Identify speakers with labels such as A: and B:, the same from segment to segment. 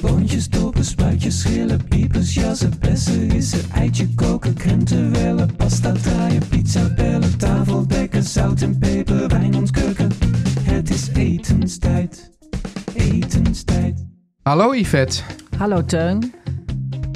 A: Boontjes, dopen, spuitjes, schillen, piepers, jassen, bessen, rissen, eitje koken, krenten wellen, pasta draaien, pizza bellen, tafel dekken, zout en peper, wijn ontkurken. Het is etenstijd, etenstijd.
B: Hallo Yvette.
C: Hallo Teun.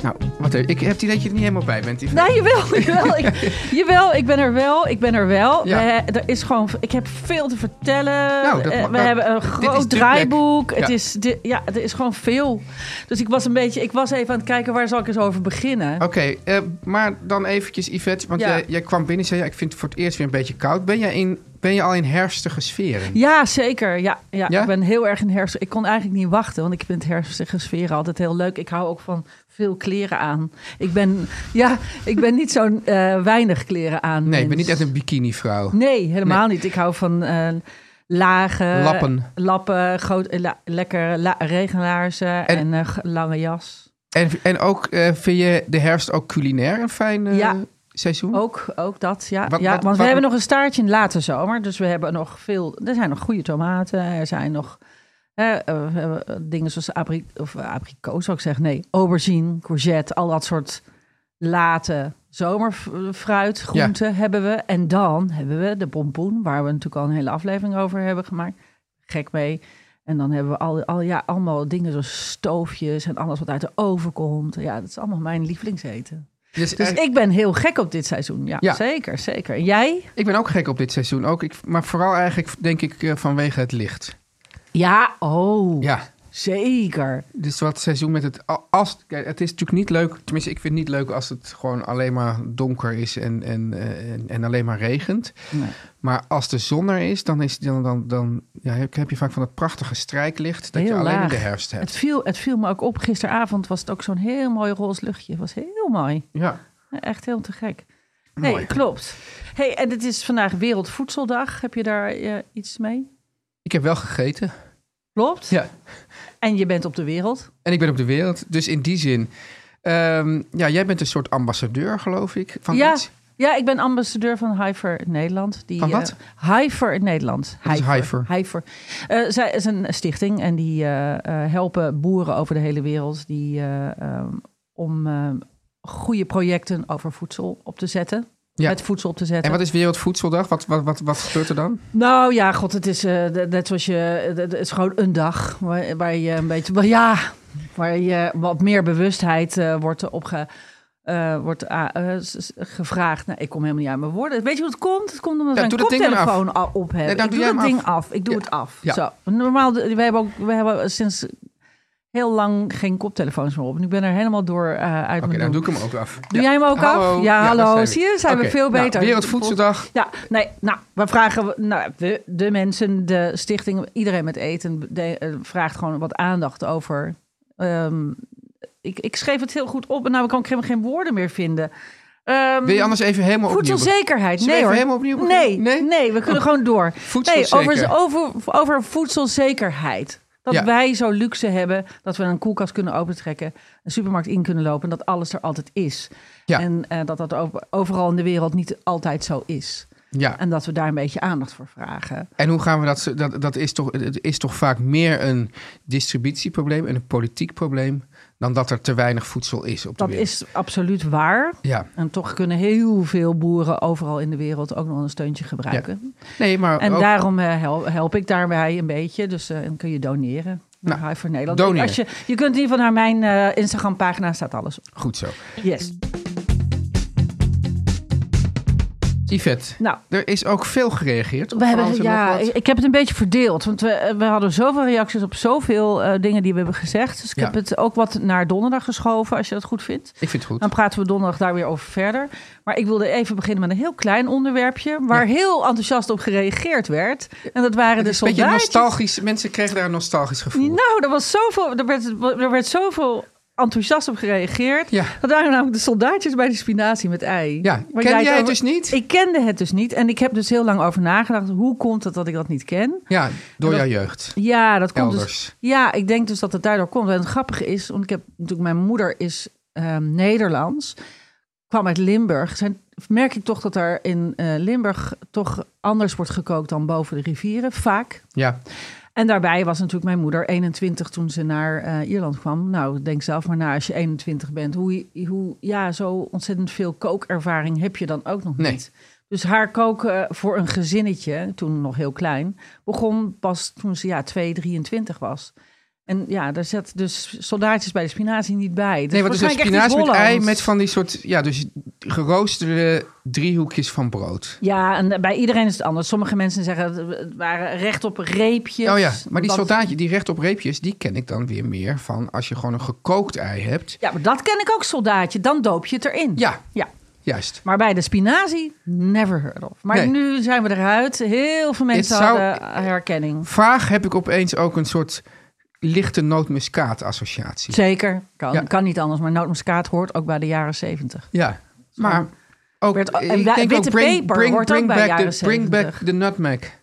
B: Nou, wat, ik heb het idee dat je er niet helemaal bij bent, Yvette.
C: Nou, jawel, jawel, ik, jawel, ik ben er wel, ik ben er wel.
B: Ja.
C: We he- er is gewoon, ik heb veel te vertellen.
B: Nou, dat
C: Eh,
B: ma-
C: we
B: dat-
C: hebben een
B: dit is de
C: groot
B: plek.
C: draaiboek. Het
B: Ja.
C: is, di- ja, er is gewoon veel. Dus ik was een beetje, ik was even aan het kijken waar zal ik eens over beginnen.
B: Oké, eh, maar dan eventjes Yvette, want
C: Ja.
B: jij, jij kwam binnen en zei... Ja, ik vind het voor het eerst weer een beetje koud. Ben, jij in, ben je al in herfstige sferen?
C: Ja, zeker. Ja, ja,
B: Ja?
C: ik ben heel erg in herfst. Ik kon eigenlijk niet wachten, want ik vind herfstige sferen altijd heel leuk. Ik hou ook van veel kleren aan. Ik ben, ja, ik ben niet zo'n eh, weinig kleren aan.
B: Nee, ik ben
C: mens.
B: niet echt een bikini-vrouw.
C: Nee, helemaal niet. Ik hou van eh, lagen,
B: Lappen.
C: lappen groot, eh, la- lekker la- regenlaarzen en, eh, g- lange jas.
B: En, en ook, eh, vind je de herfst ook culinair een fijn eh,
C: Ja. Oh.
B: seizoen?
C: Ook, ook dat, ja.
B: Wat-
C: ja
B: wat-
C: want we
B: wat-
C: hebben nog een staartje in de late zomer. Dus we hebben nog veel... Er zijn nog goede tomaten. Er zijn nog eh, eh, eh, dingen zoals abri of, eh, abrikoos, zou ik zeggen. Nee, aubergine, courgette. Al dat soort late zomerfruit, groenten hebben we. En dan hebben we de pompoen, waar we natuurlijk al een hele aflevering over hebben gemaakt. Gek mee. En dan hebben we al, al, ja, allemaal dingen zoals stoofjes en alles wat uit de oven komt. Ja, dat is allemaal mijn lievelingseten.
B: Dus,
C: Dus
B: eh,
C: ik ben heel gek op dit seizoen. Ja,
B: Ja.
C: zeker, zeker. En jij?
B: ik ben ook gek op dit seizoen. Ook, ik, maar vooral eigenlijk, denk ik, eh, vanwege het licht.
C: Ja, oh,
B: Ja,
C: zeker.
B: dus wat seizoen met het... al- Als, kijk, het is natuurlijk niet leuk, tenminste, ik vind het niet leuk als het gewoon alleen maar donker is en, en, eh, en, en alleen maar regent.
C: Nee.
B: Maar als de zon er is, dan, is, dan, dan, dan ja, heb heb je vaak van dat prachtige strijklicht dat je
C: Heel
B: alleen in
C: laag.
B: de herfst hebt.
C: Het viel, het viel me ook op. Gisteravond was het ook zo'n heel mooi roze luchtje. Het was heel mooi.
B: Ja.
C: Echt heel te gek. Nee,
B: Mooi.
C: klopt. hey, en het is vandaag Wereldvoedseldag. Heb je daar eh, iets mee?
B: Ik heb wel gegeten.
C: Klopt.
B: Ja.
C: En je bent op de wereld.
B: En ik ben op de wereld. Dus in die zin. ehm, ja, jij bent een soort ambassadeur, geloof ik. Van
C: ja.
B: iets.
C: ja, ik ben ambassadeur van Hyver Nederland. Die,
B: Van wat?
C: eh, Hyver in Nederland.
B: Wat is Hyver?
C: Hyver. Eh, zij is een stichting en die eh, eh, helpen boeren over de hele wereld die, eh, ehm, om eh, goede projecten over voedsel op te zetten.
B: Ja.
C: Met voedsel op te
B: En
C: zetten.
B: wat is Wereldvoedseldag? Wat, wat, wat, wat gebeurt er dan?
C: Nou ja, god, het is eh, d- net zoals je. d- d- Het is gewoon een dag waar, waar je een beetje. wel ja, waar je wat meer bewustheid eh, wordt opge. eh, wordt a- eh, s- s- gevraagd. Nou, ik kom helemaal niet aan mijn woorden. Weet je hoe het komt? Het komt omdat
B: Ja,
C: we
B: doe
C: een
B: dat ding dan af.
C: koptelefoon a- op hebben.
B: Nee, dan
C: ik
B: doe
C: doe
B: jij
C: dat
B: hem
C: ding
B: af.
C: af. Ik doe
B: Ja.
C: het af.
B: Ja.
C: Zo. Normaal, we hebben, ook, we hebben sinds heel lang geen koptelefoons meer op. En ik ben er helemaal door eh, uit
B: Oké,
C: mijn
B: dan
C: doel.
B: doe ik hem ook af.
C: Doe jij hem ook af? Ja, hallo.
B: daar zijn we.
C: Zie je, zijn we
B: Oké,
C: veel
B: nou,
C: beter.
B: Wereldvoedseldag.
C: Ja, nee, nou, we vragen nou, we, de mensen, de stichting, iedereen met eten de- eh, vraagt gewoon wat aandacht over. Ehm, ik, ik schreef het heel goed op en nou ik kan ik helemaal geen woorden meer vinden. Ehm,
B: Wil je anders even helemaal opnieuw?
C: voedselzekerheid,
B: Zullen we
C: nee
B: even
C: hoor.
B: helemaal opnieuw beginnen?
C: nee,
B: Nee? Oh.
C: nee, we kunnen gewoon door. Nee,
B: Voedselzeker.
C: over, over, over voedselzekerheid. Dat
B: Ja.
C: wij zo luxe hebben dat we een koelkast kunnen opentrekken, een supermarkt in kunnen lopen en dat alles er altijd is.
B: Ja.
C: En eh, dat dat over- overal in de wereld niet altijd zo is.
B: Ja.
C: En dat we daar een beetje aandacht voor vragen.
B: En hoe gaan we dat, dat? Dat is toch, het is toch vaak meer een distributieprobleem en een politiek probleem dan dat er te weinig voedsel is op de
C: Dat
B: wereld.
C: is absoluut waar.
B: Ja.
C: En toch kunnen heel veel boeren overal in de wereld ook nog een steuntje gebruiken.
B: Nee, maar
C: En
B: ook-
C: daarom eh, help, help ik daarbij een beetje. Dus eh, dan kun je doneren. Naar
B: Nou,
C: High for Nederland.
B: doneren.
C: Als je, je kunt in ieder geval naar mijn eh, Instagram-pagina staat alles op.
B: goed zo.
C: Yes.
B: Yvette,
C: Nou,
B: er is ook veel gereageerd. Op
C: We hebben,
B: alles en nog
C: ja,
B: wat.
C: ik ik heb het een beetje verdeeld. Want we, we hadden zoveel reacties op zoveel eh, dingen die we hebben gezegd. Dus ik
B: Ja.
C: heb het ook wat naar donderdag geschoven, als je dat goed vindt.
B: ik vind het goed.
C: Dan praten we donderdag daar weer over verder. Maar ik wilde even beginnen met een heel klein onderwerpje... waar heel enthousiast op gereageerd werd. En dat waren
B: Het
C: de
B: is een beetje
C: soldaatjes.
B: nostalgisch. Mensen kregen daar een nostalgisch gevoel.
C: Nou, er, was zoveel, er, werd, er werd zoveel enthousiast op gereageerd.
B: Ja.
C: Dat waren namelijk de soldaatjes bij de spinazie met ei.
B: Ja,
C: Waar
B: ken
C: het
B: jij het
C: over-
B: dus niet?
C: Ik kende het dus niet. En ik heb dus heel lang over nagedacht. Hoe komt het dat ik dat niet ken?
B: Ja, door
C: En dat-
B: jouw jeugd.
C: Ja, dat komt
B: Elders.
C: dus. Ja, ik denk dus dat het daardoor komt. En het grappige is, want ik heb natuurlijk mijn moeder is ehm, Nederlands, kwam uit Limburg. Zijn, merk ik toch dat er in eh, Limburg toch anders wordt gekookt dan boven de rivieren, vaak.
B: Ja,
C: En daarbij was natuurlijk mijn moeder 21 toen ze naar eh, Ierland kwam. Nou, denk zelf maar na als je 21 bent. Hoe, hoe, ja, zo ontzettend veel kookervaring heb je dan ook nog
B: Nee.
C: niet. Dus haar koken voor een gezinnetje, toen nog heel klein, begon pas toen ze ja, 2, 23 was. En ja, daar zat dus soldaatjes bij de spinazie niet bij. Dus
B: nee, wat is dat?
C: waarschijnlijk echt
B: Spinazie
C: iets
B: met ei
C: Hollands.
B: met van die soort, ja, dus geroosterde driehoekjes van brood.
C: Ja, en bij iedereen is het anders. Sommige mensen zeggen dat het waren recht op reepjes.
B: Oh ja, maar die
C: Dat-
B: soldaatje, die recht op reepjes, die ken ik dan weer meer van als je gewoon een gekookt ei hebt.
C: Ja, maar dat ken ik ook, soldaatje. Dan doop je het erin.
B: Ja.
C: Ja.
B: Juist.
C: Maar bij de spinazie, never heard of. Maar
B: Nee.
C: nu zijn we eruit. Heel veel mensen
B: Het zou-
C: hadden herkenning.
B: Vaag heb ik opeens ook een soort lichte nootmuskaat-associatie.
C: Zeker, kan,
B: Ja.
C: kan niet anders. Maar nootmuskaat hoort ook bij de jaren zeventig.
B: Ja, maar ook,
C: Werd- en
B: ik
C: wa-
B: denk ook
C: witte peper hoort ook bij
B: back
C: jaren
B: the, bring back
C: 70.
B: the nutmeg.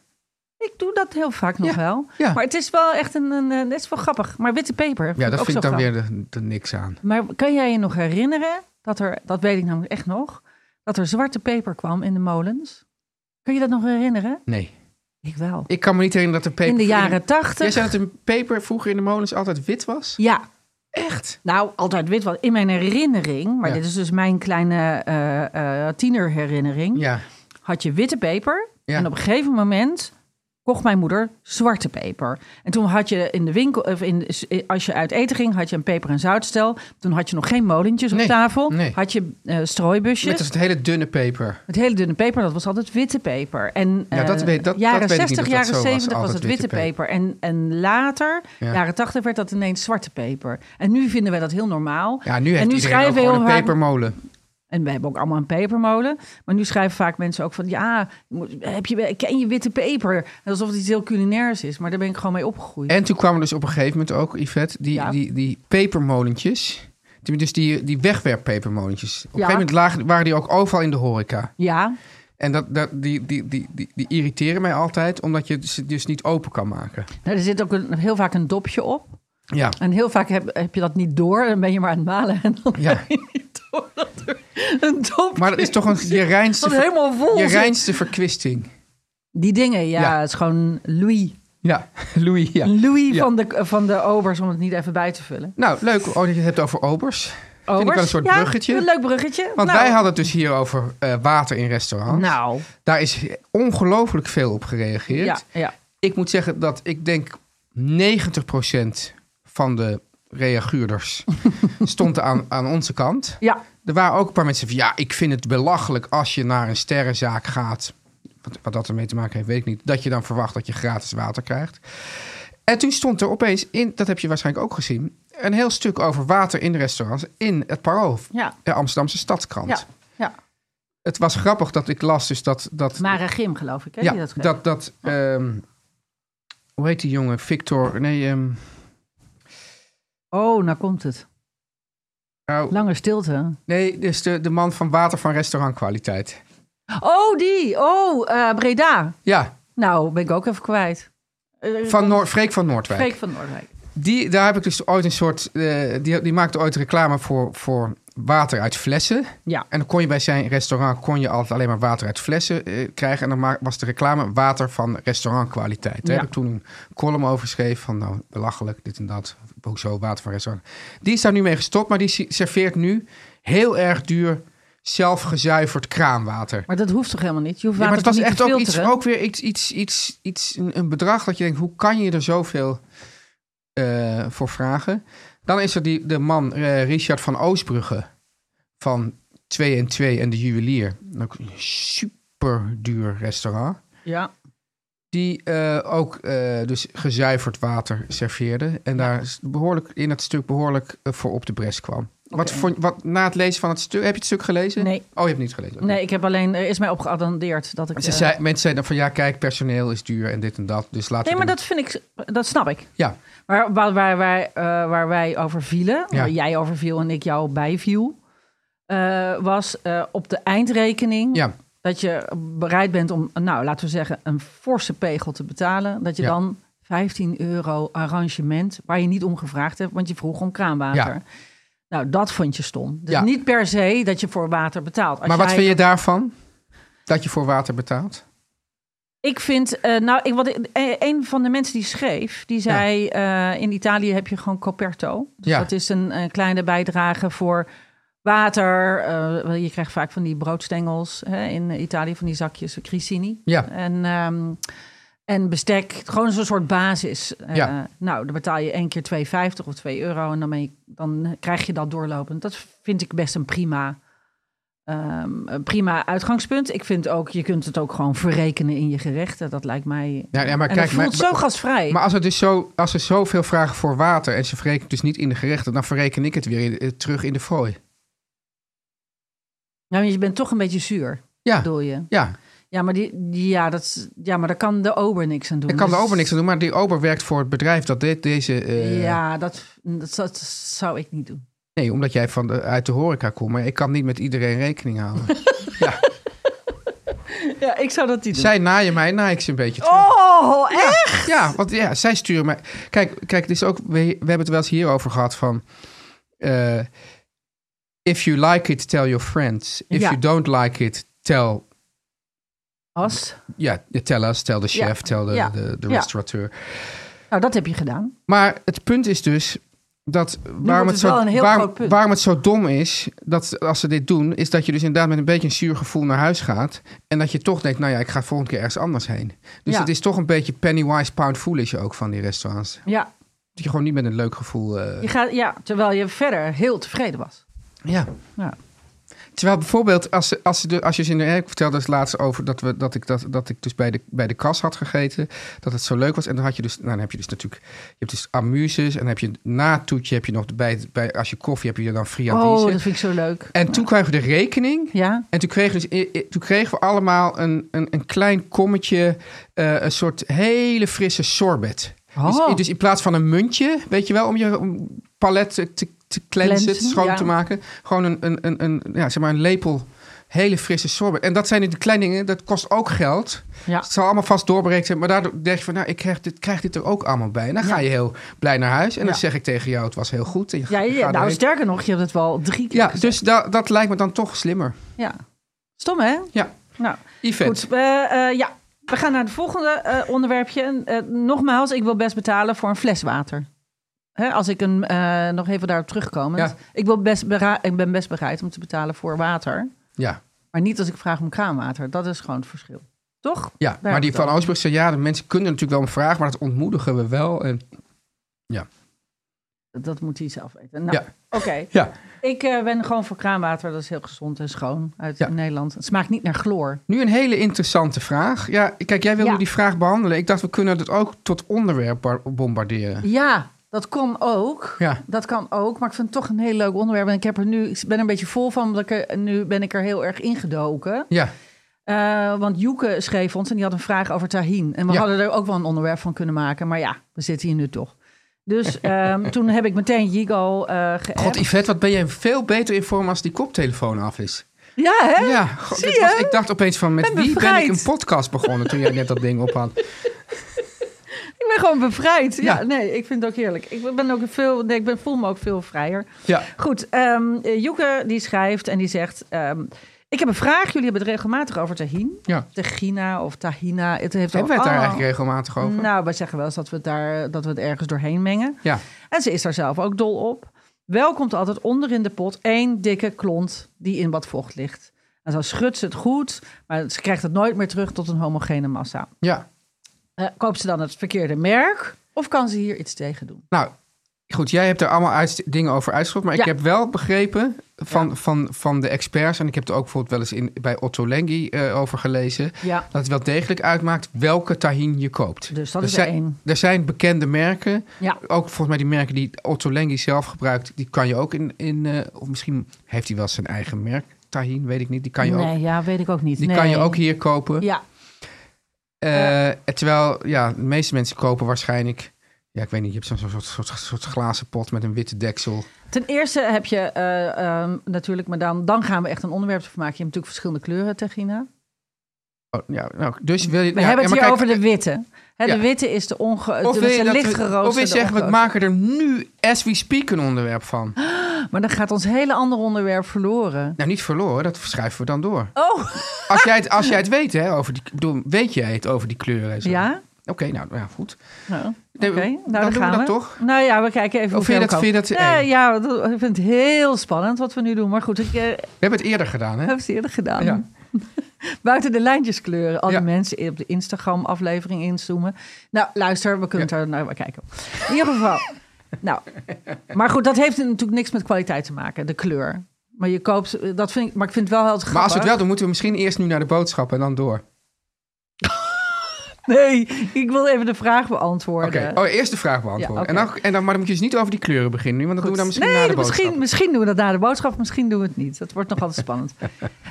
C: Ik doe dat heel vaak nog
B: Ja,
C: wel.
B: ja.
C: Maar het is wel echt een, een, een- Het is wel grappig. Maar witte peper.
B: Ja, dat
C: ook
B: vind ik
C: zo
B: dan
C: grappig.
B: weer de- de niks aan.
C: Maar kan jij je nog herinneren dat er, dat weet ik namelijk echt nog, dat er zwarte peper kwam in de molens? Kun je dat nog herinneren?
B: Nee.
C: Ik wel.
B: Ik kan me niet herinneren dat de peper...
C: In de jaren
B: Jij
C: tachtig.
B: zei dat een peper vroeger in de molens altijd wit was?
C: Ja,
B: Echt?
C: Nou, altijd wit was. In mijn herinnering, maar
B: Ja.
C: dit is dus mijn kleine eh, eh, tienerherinnering,
B: Ja.
C: had je witte peper.
B: Ja.
C: En op een gegeven moment kocht mijn moeder zwarte peper. En toen had je in de winkel, of in, de- als je uit eten ging, had je een peper- en zoutstel. Toen had je nog geen molentjes op
B: Nee,
C: tafel.
B: nee.
C: Had je eh, strooibusjes.
B: Met dat hele dunne peper.
C: Het hele dunne peper, dat was altijd witte peper. En
B: Ja, dat
C: eh,
B: weet- dat-
C: jaren
B: dat weet ik niet
C: 60,
B: of dat
C: jaren
B: zo was,
C: 70 was,
B: altijd
C: het witte
B: witte
C: peper. En, en later,
B: Ja.
C: jaren 80, werd dat ineens zwarte peper. En nu vinden wij dat heel normaal.
B: Ja, nu heeft
C: en
B: iedereen
C: nu
B: ook
C: schrijven
B: gewoon
C: heel
B: een
C: vaak-
B: pepermolen.
C: En we hebben ook allemaal een pepermolen. Maar nu schrijven vaak mensen ook van... ja, moet- heb je, ken je witte peper? Alsof het iets heel culinairs is. Maar daar ben ik gewoon mee opgegroeid.
B: En toen kwamen dus op een gegeven moment ook, Yvette, die,
C: Ja.
B: die, die pepermolentjes. Die- Dus die, die wegwerppepermolentjes. Op een gegeven moment lagen, waren die ook overal in de horeca.
C: Ja,
B: En dat, dat, die, die, die, die, die irriteren mij altijd, omdat je ze dus niet open kan maken.
C: nou, er zit ook een, heel vaak een dopje op.
B: Ja.
C: En heel vaak heb, heb je dat niet door. Dan ben je maar aan het malen. En dan
B: Ja.
C: heb je niet door dat er een dopje
B: Maar dat is toch een, je reinste,
C: Dat helemaal vol
B: je
C: zit.
B: reinste verkwisting.
C: Die dingen, ja,
B: Ja.
C: het is gewoon Louis.
B: Ja, Louis, ja.
C: Louis
B: Ja.
C: van, de, van de obers, om het niet even bij te vullen.
B: Nou, leuk oh, dat je het hebt over obers. Vind ik wel een soort
C: ja,
B: bruggetje.
C: Een leuk bruggetje.
B: Want
C: Nou,
B: wij hadden het dus hier over eh, water in restaurants.
C: Nou,
B: Daar is ongelooflijk veel op gereageerd.
C: ja, ja.
B: Ik moet zeggen dat ik denk 90% van de reaguurders stond aan, aan onze kant.
C: ja.
B: Er waren ook een paar mensen van ja, ik vind het belachelijk als je naar een sterrenzaak gaat. Wat, wat dat ermee te maken heeft, weet ik niet. Dat je dan verwacht dat je gratis water krijgt. En toen stond er opeens in, dat heb je waarschijnlijk ook gezien, een heel stuk over water in restaurants in het Parool,
C: Ja.
B: de Amsterdamse Stadskrant.
C: ja, ja.
B: Het was grappig dat ik las dus dat... dat
C: Mara Gim, geloof ik. Hè?
B: ja,
C: die dat,
B: dat, dat ehm, hoe heet die jongen? Victor, nee, ehm,
C: Oh, nou komt het.
B: nou,
C: Lange stilte.
B: nee, dus de, de man van water van restaurantkwaliteit.
C: Oh, die. Oh, eh, Breda.
B: Ja,
C: Nou, ben ik ook even kwijt. Eh,
B: van Noor, Freek van Noordwijk.
C: Freek van Noordwijk.
B: Die, daar heb ik dus ooit een soort, eh, die, die maakte ooit reclame voor, voor water uit flessen.
C: Ja.
B: En dan kon je bij zijn restaurant kon je altijd alleen maar water uit flessen eh, krijgen. En dan ma- was de reclame water van restaurantkwaliteit. Daar
C: Ja.
B: heb ik toen een column over geschreven van nou, belachelijk, dit en dat. Ook zo, water van restaurant. Die is daar nu mee gestopt, maar die si- serveert nu heel erg duur zelfgezuiverd kraanwater.
C: Maar dat hoeft toch helemaal niet? Je hoeft
B: Ja, maar
C: water
B: het was echt
C: toch niet te
B: ook, iets,
C: filteren?
B: ook weer iets, iets, iets, iets, een, een bedrag dat je denkt, hoe kan je er zoveel eh, voor vragen? Dan is er die, de man eh, Richard van Oostbrugge van 2 en 2 en de juwelier. Ook Een super duur restaurant.
C: Ja.
B: Die eh, ook eh, dus gezuiverd water serveerde. En daar is behoorlijk, in het stuk behoorlijk eh, voor op de bres kwam. Wat, vond, wat na het lezen van het stuk, heb je het stuk gelezen?
C: Nee.
B: Oh, je hebt het niet gelezen. Oké.
C: Nee, ik heb alleen, er is mij opgeattendeerd dat ik...
B: Ze
C: eh,
B: zei, mensen zeiden dan van ja, kijk, personeel is duur en dit en dat. Dus laten
C: nee,
B: we
C: maar dat vind ik, dat snap ik.
B: Ja,
C: Maar waar, waar, waar, eh, waar wij over vielen,
B: Ja.
C: waar jij over viel en ik jou bijviel, eh, was eh, op de eindrekening
B: ja,
C: dat je bereid bent om, nou laten we zeggen, een forse pegel te betalen. Dat je
B: Ja.
C: dan 15 euro arrangement, waar je niet om gevraagd hebt, want je vroeg om kraanwater.
B: Ja.
C: Nou, dat vond je stom. Dus
B: Ja.
C: niet per se dat je voor water betaalt. Als
B: maar wat
C: jij-
B: vind je daarvan? Dat je voor water betaalt?
C: Ik vind, eh, nou, ik, wat, ik- eh, een van de mensen die schreef, die zei: eh, in Italië heb je gewoon coperto. Dus
B: Ja.
C: dat is een, eh, kleine bijdrage voor water. Eh, wel, je krijgt vaak van die broodstengels hè, in Italië, van die zakjes cricini.
B: Ja.
C: En, ehm, en bestek, gewoon zo'n soort basis. Eh,
B: Ja.
C: Nou, dan betaal je één keer 2,50 of 2 euro en dan, ben je- dan krijg je dat doorlopend. Dat vind ik best een prima Ehm, een prima uitgangspunt. Ik vind ook, je kunt het ook gewoon verrekenen in je gerechten. Dat lijkt mij.
B: Ja, ja, maar
C: en
B: kijk,
C: het voelt
B: maar-
C: zo gastvrij.
B: Maar als er dus zo, als er zoveel vragen voor water en ze verrekenen dus niet in de gerechten, dan verreken ik het weer in- eh, terug in de fooi.
C: Ja, want je bent toch een beetje zuur,
B: Ja,
C: bedoel je?
B: ja.
C: Ja, maar, die, die- ja, dat, is- ja, maar daar kan de ober niks aan doen.
B: Ik kan de
C: Dus-
B: ober niks aan doen, maar die ober werkt voor het bedrijf dat dit, deze... eh,
C: Ja, dat, dat, dat zou ik niet doen.
B: Nee, omdat jij van de, uit de horeca komt, maar ik kan niet met iedereen rekening houden.
C: Ja, ik zou dat niet doen.
B: Zij naaien mij, naai ik ze een beetje terug.
C: Oh, echt?
B: Ja, want ja, zij sturen mij. Kijk, kijk, het is ook. We, we hebben het wel eens hierover gehad van. eh, if you like it, tell your friends. If
C: Ja.
B: you don't like it, tell.
C: As.
B: Ja, tell us, tell the chef,
C: Ja.
B: tell the,
C: Ja.
B: the, the
C: Ja.
B: restaurateur.
C: Nou, dat heb je gedaan.
B: Maar het punt is dus dat waarom
C: wordt
B: het,
C: het wel
B: zo,
C: een heel
B: waarom,
C: groot punt.
B: waarom het zo dom is dat als ze dit doen, is dat je dus inderdaad met een beetje een zuur gevoel naar huis gaat en dat je toch denkt, nou ja, ik ga volgende keer ergens anders heen. Dus
C: Ja.
B: het is toch een beetje pennywise pound foolish ook van die restaurants.
C: Ja.
B: Dat je gewoon niet met een leuk gevoel. eh,
C: Je gaat, ja, terwijl je verder heel tevreden was.
B: ja.
C: Ja.
B: Terwijl bijvoorbeeld, als, ze- als, ze de- als je ze in de. Ik vertelde dus laatst over dat, we, dat, ik, dat, dat ik dus bij de, bij de kas had gegeten. Dat het zo leuk was. En dan, had je dus, nou, dan heb je dus natuurlijk. Je hebt dus amuses. En dan heb je na het toetje. Heb je nog bij, het- bij, als je koffie heb je dan
C: Oh,
B: friandise.
C: dat vind ik zo leuk.
B: en toen kregen we de rekening.
C: Ja.
B: En toen kregen, we dus, i- i- toen kregen we allemaal een, een, een klein kommetje. eh, een soort hele frisse sorbet. Dus,
C: Oh.
B: dus in plaats van een muntje, weet je wel, om je om palet te, te, te cleansen,
C: Cleansen,
B: schoon
C: ja.
B: te maken. Gewoon een, een, een, een, ja, zeg maar een lepel hele frisse sorbet. En dat zijn de kleine dingen, dat kost ook geld.
C: Ja.
B: Het zal allemaal vast doorberekend zijn. Maar daardoor denk je van, nou, ik krijg dit, krijg dit er ook allemaal bij. En dan ga je heel blij naar huis. En dan
C: Ja.
B: zeg ik tegen jou, het was heel goed. En je
C: Ja,
B: gaat- je
C: ja,
B: gaat
C: nou,
B: erheen.
C: sterker nog, je hebt het wel drie keer
B: ja
C: gezegd.
B: dus da- dat lijkt me dan toch slimmer.
C: Ja. Stom, hè?
B: Ja,
C: Nou,
B: event.
C: goed. eh, eh, ja, we gaan naar het volgende eh, onderwerpje. En, eh, nogmaals, ik wil best betalen voor een fles water. Hè, als ik een, eh, nog even daarop terugkomen.
B: Ja.
C: Ik, wil best bera- ik ben best bereid om te betalen voor water.
B: Ja,
C: Maar niet als ik vraag om kraanwater. Dat is gewoon het verschil. Toch?
B: ja. maar die van Oostbrug zei, ja, de mensen kunnen natuurlijk wel een vraag, maar dat ontmoedigen we wel. En,
C: Dat moet hij zelf weten. Nou,
B: Ja.
C: oké.
B: ja,
C: Ik eh, ben gewoon voor kraanwater. Dat is heel gezond en schoon uit
B: Ja.
C: Nederland. Het smaakt niet naar chloor.
B: Nu een hele interessante vraag. Ja, kijk, jij wilde
C: Ja.
B: die vraag behandelen. Ik dacht, we kunnen het ook tot onderwerp bar- bombarderen.
C: Ja, dat kon ook.
B: Ja.
C: Dat kan ook, maar ik vind het toch een heel leuk onderwerp. En ik, heb er nu, ik ben er een beetje vol van, omdat ik er, nu ben ik er heel erg ingedoken.
B: Ja,
C: Eh, want Joeke schreef ons en die had een vraag over tahin. En we
B: Ja.
C: hadden er ook wel een onderwerp van kunnen maken. Maar ja, we zitten hier nu toch. Dus ehm, toen heb ik meteen Jigo eh geappt.
B: god, Yvette, wat ben jij veel beter in vorm als die koptelefoon af is.
C: Ja, hè?
B: Ja, god,
C: Zie
B: dit
C: je?
B: was- ik dacht opeens van, met
C: Ben
B: wie ben ik
C: bevrijd.
B: een podcast begonnen toen jij net dat ding op had.
C: Ik ben gewoon bevrijd. Ja,
B: Ja.
C: nee, ik vind het ook heerlijk. Ik ben ook veel, nee, ik ben, voel me ook veel vrijer.
B: Ja.
C: Goed, ehm, eh, Joeke die schrijft en die zegt... ehm, ik heb een vraag. Jullie hebben het regelmatig over tahin.
B: Ja.
C: Tahina of tahina. Het heeft
B: Hebben we het daar
C: allemaal-
B: eigenlijk regelmatig over?
C: Nou, wij zeggen wel eens dat we, het daar, dat we het ergens doorheen mengen.
B: Ja.
C: En ze is daar zelf ook dol op. Wel komt altijd onder in de pot één dikke klont die in wat vocht ligt. En zo schudt ze het goed, maar ze krijgt het nooit meer terug tot een homogene massa.
B: ja.
C: Eh, koopt ze dan het verkeerde merk? Of kan ze hier iets tegen doen?
B: Nou, goed, jij hebt er allemaal uit, dingen over uitgesproken. Maar
C: Ja.
B: ik heb wel begrepen van, van, van de experts... en ik heb het ook bijvoorbeeld wel eens in, bij Otto Lengi eh, over gelezen...
C: Ja.
B: dat het wel degelijk uitmaakt welke tahin je koopt.
C: Dus dat
B: er
C: is er
B: zijn,
C: één.
B: Er zijn bekende merken.
C: Ja.
B: Ook volgens mij die merken die Otto Lengi zelf gebruikt... die kan je ook in... in eh, of misschien heeft hij wel zijn eigen merk. Tahin, weet ik niet. Die kan je, ook,
C: ja, weet ik ook niet.
B: die kan je ook hier kopen.
C: Ja,
B: Eh, Terwijl ja, de meeste mensen kopen waarschijnlijk... Ja, ik weet niet, je hebt zo'n soort, soort, soort glazen pot met een witte deksel.
C: ten eerste heb je eh, ehm, natuurlijk, maar dan, dan gaan we echt een onderwerp van maken. Je hebt natuurlijk verschillende kleuren, Tegina.
B: Oh, ja, nou, dus wil je...
C: We
B: ja,
C: hebben het
B: maar
C: hier
B: kijk, eh,
C: over de witte. Hè,
B: ja.
C: De witte is de, onge,
B: Of
C: de,
B: wil je,
C: de
B: dat
C: licht
B: we,
C: geroosterde.
B: of wil je zeggen, we
C: ongeroosterde.
B: maken er nu, as we speak, een onderwerp van.
C: Maar dan gaat ons hele ander onderwerp verloren.
B: Nou, niet verloren, dat verschuiven we dan door.
C: Oh,
B: Als jij het, als jij het weet, hè, over die, ik bedoel, weet jij het over die kleuren? en zo?
C: ja?
B: Oké, nou ja, goed.
C: Nou,
B: Nee,
C: Oké, nou
B: dan
C: daar
B: doen we
C: gaan
B: dat
C: we.
B: toch?
C: Nou ja, we kijken even
B: Of
C: hoe
B: vind je
C: ver
B: dat-
C: we
B: vind
C: komen.
B: je dat-
C: Nee,
B: eh.
C: ja, dat- ik vind het heel spannend wat we nu doen. Maar goed, ik eh,
B: We hebben het eerder gedaan, hè?
C: heb het eerder gedaan.
B: Ja.
C: Buiten de lijntjes kleuren. Al die
B: Ja.
C: mensen op de Instagram-aflevering inzoomen. Nou, luister, we kunnen
B: Ja.
C: daar naar nou, kijken. In ieder geval. nou, maar goed, dat heeft natuurlijk niks met kwaliteit te maken, de kleur. Maar je koopt, eh, dat vind ik, maar ik vind het wel heel grappig.
B: Maar als we het wel doen, moeten we misschien eerst nu naar de boodschappen en dan door.
C: Nee, ik wil even de vraag beantwoorden.
B: Oké, oh, eerst de vraag beantwoorden.
C: Ja, oké.
B: en dan, en dan, maar dan moet je dus niet over die kleuren beginnen nu, want dat
C: Goed.
B: doen we dan misschien
C: nee,
B: na de boodschappen.
C: misschien, misschien doen we dat na de boodschap, misschien doen we het niet. Dat wordt nog altijd spannend.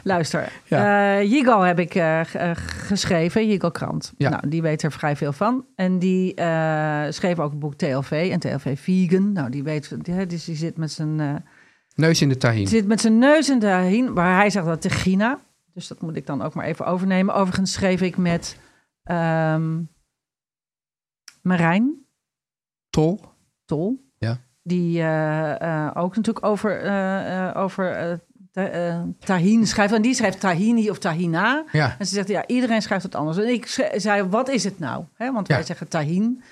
C: Luister,
B: Ja.
C: Eh Jigo heb ik eh, g- eh, geschreven, Jigo Krant.
B: Ja.
C: Nou, die weet er vrij veel van. En die eh, schreef ook het boek TLV en TLV Vegan. Nou, die weet, die, dus die zit met zijn... eh,
B: Neus in de tahin.
C: zit met zijn neus in de hien, maar hij zegt dat tegen China. Dus dat moet ik dan ook maar even overnemen. Overigens schreef ik met ehm Marijn
B: Tol.
C: Tol.
B: Ja.
C: Die eh, eh, ook natuurlijk over, eh, eh, over eh, ta- eh, tahin schrijft. En die schrijft tahini of tahina.
B: Ja.
C: En ze zegt, ja, iedereen schrijft het anders. En ik schre- zei, wat is het nou? Hè, want
B: Ja.
C: wij zeggen tahin.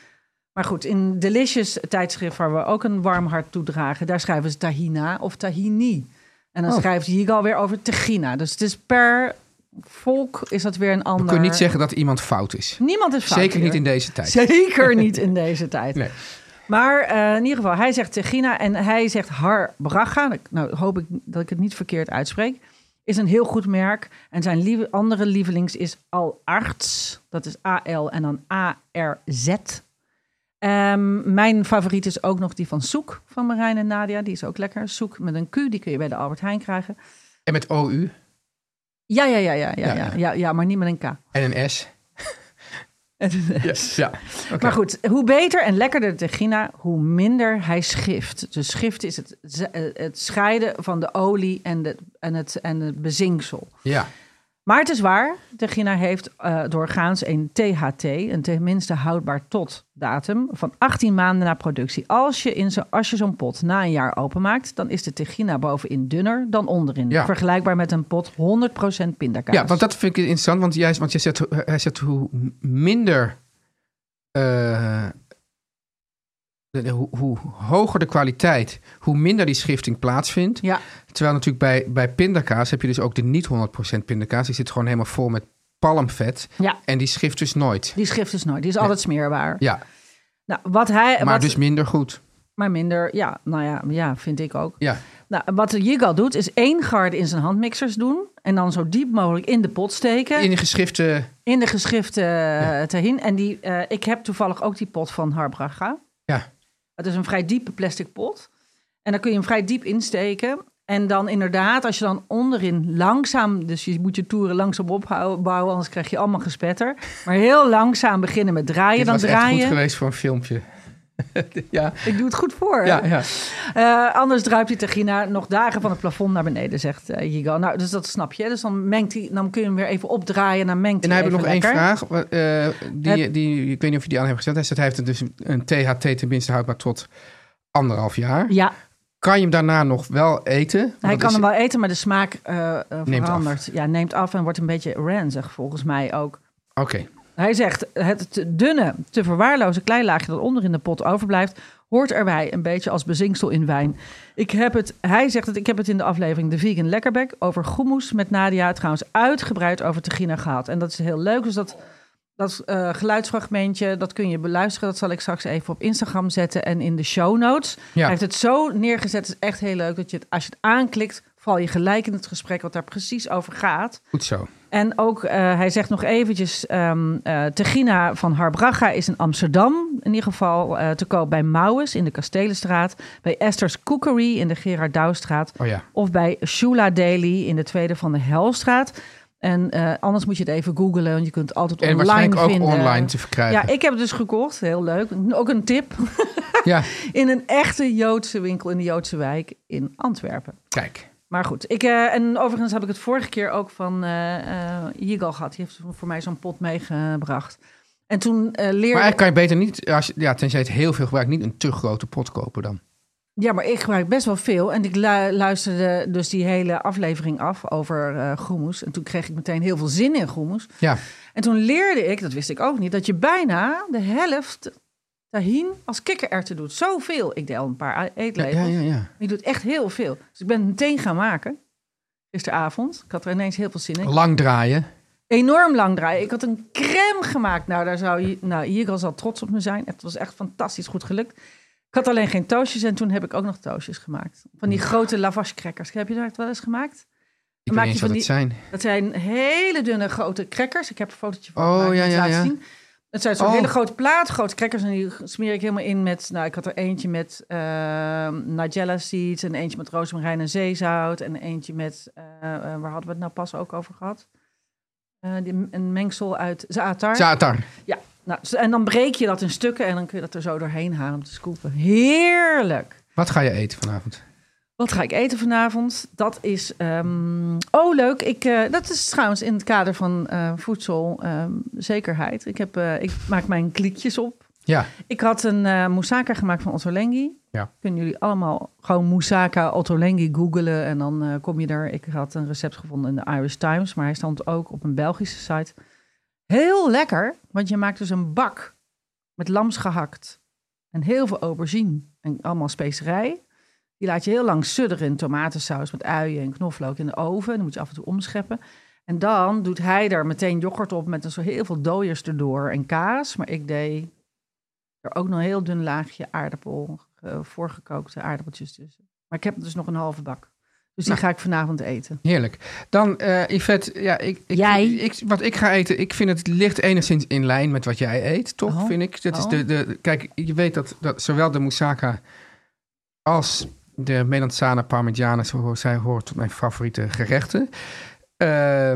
C: Maar goed, in Delicious tijdschrift, waar we ook een warm hart toedragen... daar schrijven ze tahina of tahini. En dan
B: Oh.
C: schrijft Yigal weer over tegina. Dus het is per volk is dat weer een ander...
B: We kunnen niet zeggen dat iemand fout is.
C: Niemand is fout
B: Zeker niet
C: hier.
B: in deze tijd.
C: Zeker niet in deze tijd.
B: Nee.
C: Maar eh, in ieder geval, hij zegt Tegina en hij zegt Har Braga. Nou, hoop ik dat ik het niet verkeerd uitspreek. Is een heel goed merk. En zijn lieve, andere lievelings is Al Arts. Dat is A-L en dan A-R-Z. Ehm, mijn favoriet is ook nog die van Soek van Marijn en Nadia. Die is ook lekker. Soek met een Q, die kun je bij de Albert Heijn krijgen.
B: En met OU
C: Ja, ja, ja, ja, ja, ja,
B: ja.
C: ja, ja, maar niet met een K.
B: en een S. Yes. Ja. Oké.
C: Maar goed, hoe beter en lekkerder de gina, hoe minder hij schift. Dus schift is het, z- eh, het scheiden van de olie en, de, en, het, en het bezinksel.
B: Ja.
C: Maar het is waar, de gina heeft eh, doorgaans een THT, een tenminste houdbaar tot datum, van 18 maanden na productie. Als je, in zo, als je zo'n pot na een jaar openmaakt, dan is de tegina bovenin dunner dan onderin.
B: Ja.
C: Vergelijkbaar met een pot 100% pindakaas.
B: Ja, want dat vind ik interessant. Want, juist, want je zegt, hoe- hij zegt hoe minder. eh, de- hoe, hoe hoger de kwaliteit, hoe minder die schifting plaatsvindt.
C: Ja,
B: Terwijl natuurlijk bij, bij pindakaas heb je dus ook de niet 100% pindakaas. Die zit gewoon helemaal vol met palmvet.
C: ja,
B: En die schift dus nooit.
C: die schift is nooit. Die is altijd smeerbaar.
B: Ja,
C: Nou, wat hij,
B: maar
C: wat,
B: dus minder goed.
C: Maar minder, ja, nou ja, ja vind ik ook.
B: Ja,
C: Nou, wat Jigal doet, is één garde in zijn handmixers doen. En dan zo diep mogelijk in de pot steken.
B: in
C: In,
B: de geschrifte.
C: de geschrifte eh, tahin. En die, eh, ik heb toevallig ook die pot van Harbraga.
B: Ja,
C: Het is een vrij diepe plastic pot. En dan kun je hem vrij diep insteken. En dan inderdaad, als je dan onderin langzaam... dus je moet je toeren langzaam opbouwen, anders krijg je allemaal gespetter. Maar heel langzaam beginnen met draaien.
B: dit
C: Dan
B: was echt goed
C: draaien.
B: geweest voor een filmpje. ja,
C: Ik doe het goed voor.
B: ja, ja.
C: Eh, anders druipt die tegina nog dagen van het plafond naar beneden, zegt eh Yigal. Nou, dus dat snap je. Dus dan, mengt hij, dan kun je hem weer even opdraaien en dan mengt
B: En dan
C: hij
B: heb ik nog
C: even
B: één
C: lekker.
B: vraag. wa- eh, die, die, ik weet niet of je die aan hebt gesteld. Hij staat- hij heeft dus een THT tenminste houdbaar tot anderhalf jaar.
C: Ja,
B: Kan je hem daarna nog wel eten? Want
C: hij
B: dat
C: kan
B: is-
C: hem wel eten, maar de smaak eh, eh,
B: Neemt
C: verandert. Ja, neemt af en wordt een beetje ranzig volgens mij ook.
B: Oké.
C: Hij zegt, het te dunne, te verwaarloze kleilaagje dat onder in de pot overblijft, hoort erbij een beetje als bezinksel in wijn. Ik heb het, hij zegt het, ik heb het in de aflevering De Vegan Lekkerbek over hummus met Nadia trouwens uitgebreid over tegina gehad. En dat is heel leuk, dus dat, dat eh, geluidsfragmentje, dat kun je beluisteren. Dat zal ik straks even op Instagram zetten en in de show notes.
B: Ja.
C: Hij heeft het zo neergezet, het is echt heel leuk dat je het, als je het aanklikt, val je gelijk in het gesprek wat daar precies over gaat.
B: Goed zo.
C: En ook, eh, hij zegt nog eventjes, ehm eh, Tegina van Harbraga is in Amsterdam in ieder geval eh, te koop bij Mouwes in de Kastelenstraat, bij Esther's Cookery in de Gerard Douwstraat
B: Oh ja.
C: of bij Shula Daily in de Tweede van de Helstraat. En eh, anders moet je het even googlen, want je kunt het altijd
B: En
C: online
B: waarschijnlijk ook
C: vinden.
B: online te verkrijgen.
C: Ja, ik heb het dus gekocht, heel leuk. Ook een tip,
B: Ja,
C: in een echte Joodse winkel in de Joodse wijk in Antwerpen.
B: kijk.
C: Maar goed, ik, eh, en overigens heb ik het vorige keer ook van eh eh, Yigal gehad. Die heeft voor mij zo'n pot meegebracht. En toen eh leerde
B: Maar eigenlijk kan je beter niet, als je, ja, tenzij je het heel veel gebruikt, niet een te grote pot kopen dan.
C: Ja, maar ik gebruik best wel veel. En ik lu- luisterde dus die hele aflevering af over eh groenmoes. En toen kreeg ik meteen heel veel zin in groenmoes.
B: Ja,
C: En toen leerde ik, dat wist ik ook niet, dat je bijna de helft tahin als kikkererwten doet. Zoveel. Ik deel een paar e-,
B: ja,
C: eetlepels.
B: ja. ja, ja.
C: Je doet echt heel veel. Dus ik ben het meteen gaan maken. Gisteravond. Ik had er ineens heel veel zin in.
B: Lang draaien.
C: enorm lang draaien. Ik had een crème gemaakt. Nou, daar zou je, nou, Jigal zal trots op me zijn. Het was echt fantastisch goed gelukt. Ik had alleen geen toastjes en toen heb ik ook nog toastjes gemaakt. Van die grote lavash crackers. Heb je dat wel eens gemaakt?
B: Mm. Ik
C: maak
B: weet
C: je
B: niet eens
C: van
B: wat
C: die-
B: het zijn.
C: Dat zijn hele dunne grote crackers. Ik heb een fotootje van
B: Oh,
C: gemaakt, die
B: ja,
C: ik
B: ja,
C: laat
B: ja.
C: zien. Het zijn zo'n
B: Oh.
C: hele grote plaat, grote crackers. En die smeer ik helemaal in met... Nou, ik had er eentje met eh, nigella seeds... en eentje met rozemarijn en zeezout... en eentje met... eh, eh, waar hadden we het nou pas ook over gehad? Eh, die, een mengsel uit zaatar.
B: Zatar.
C: Ja, nou, z- en dan breek je dat in stukken... en dan kun je dat er zo doorheen halen om te scoepen. Heerlijk!
B: Wat ga je eten vanavond?
C: Wat ga ik eten vanavond? Dat is. ehm, Oh, leuk. Ik, eh, dat is trouwens in het kader van eh, voedselzekerheid. ik, heb, eh, ik maak mijn kliekjes op.
B: Ja,
C: Ik had een eh moussaka gemaakt van Ottolenghi.
B: Ja.
C: Kunnen jullie allemaal gewoon moussaka Ottolenghi googelen en dan eh, kom je daar. Ik had een recept gevonden in de Irish Times, maar hij stond ook op een Belgische site. Heel lekker, want je maakt dus een bak met lams gehakt en heel veel aubergine en allemaal specerij. Die laat je heel lang sudderen in tomatensaus met uien en knoflook in de oven. Dan moet je af en toe omscheppen. En dan doet hij daar meteen yoghurt op met een zo heel veel dooiers erdoor en kaas. Maar ik deed er ook nog een heel dun laagje aardappel, eh, voorgekookte aardappeltjes tussen. Maar ik heb dus nog een halve bak. Dus die ga ik vanavond eten.
B: heerlijk. Dan eh, Yvette, ja, ik, ik,
C: Jij?
B: Ik, wat ik ga eten, ik vind het ligt enigszins in lijn met wat jij eet, toch?
C: Oh.
B: Vind ik. Dat is
C: Oh.
B: de, de, kijk, je weet dat, dat zowel de moussaka als de melanzane parmigiana, zoals zij hoort tot mijn favoriete gerechten. Eh,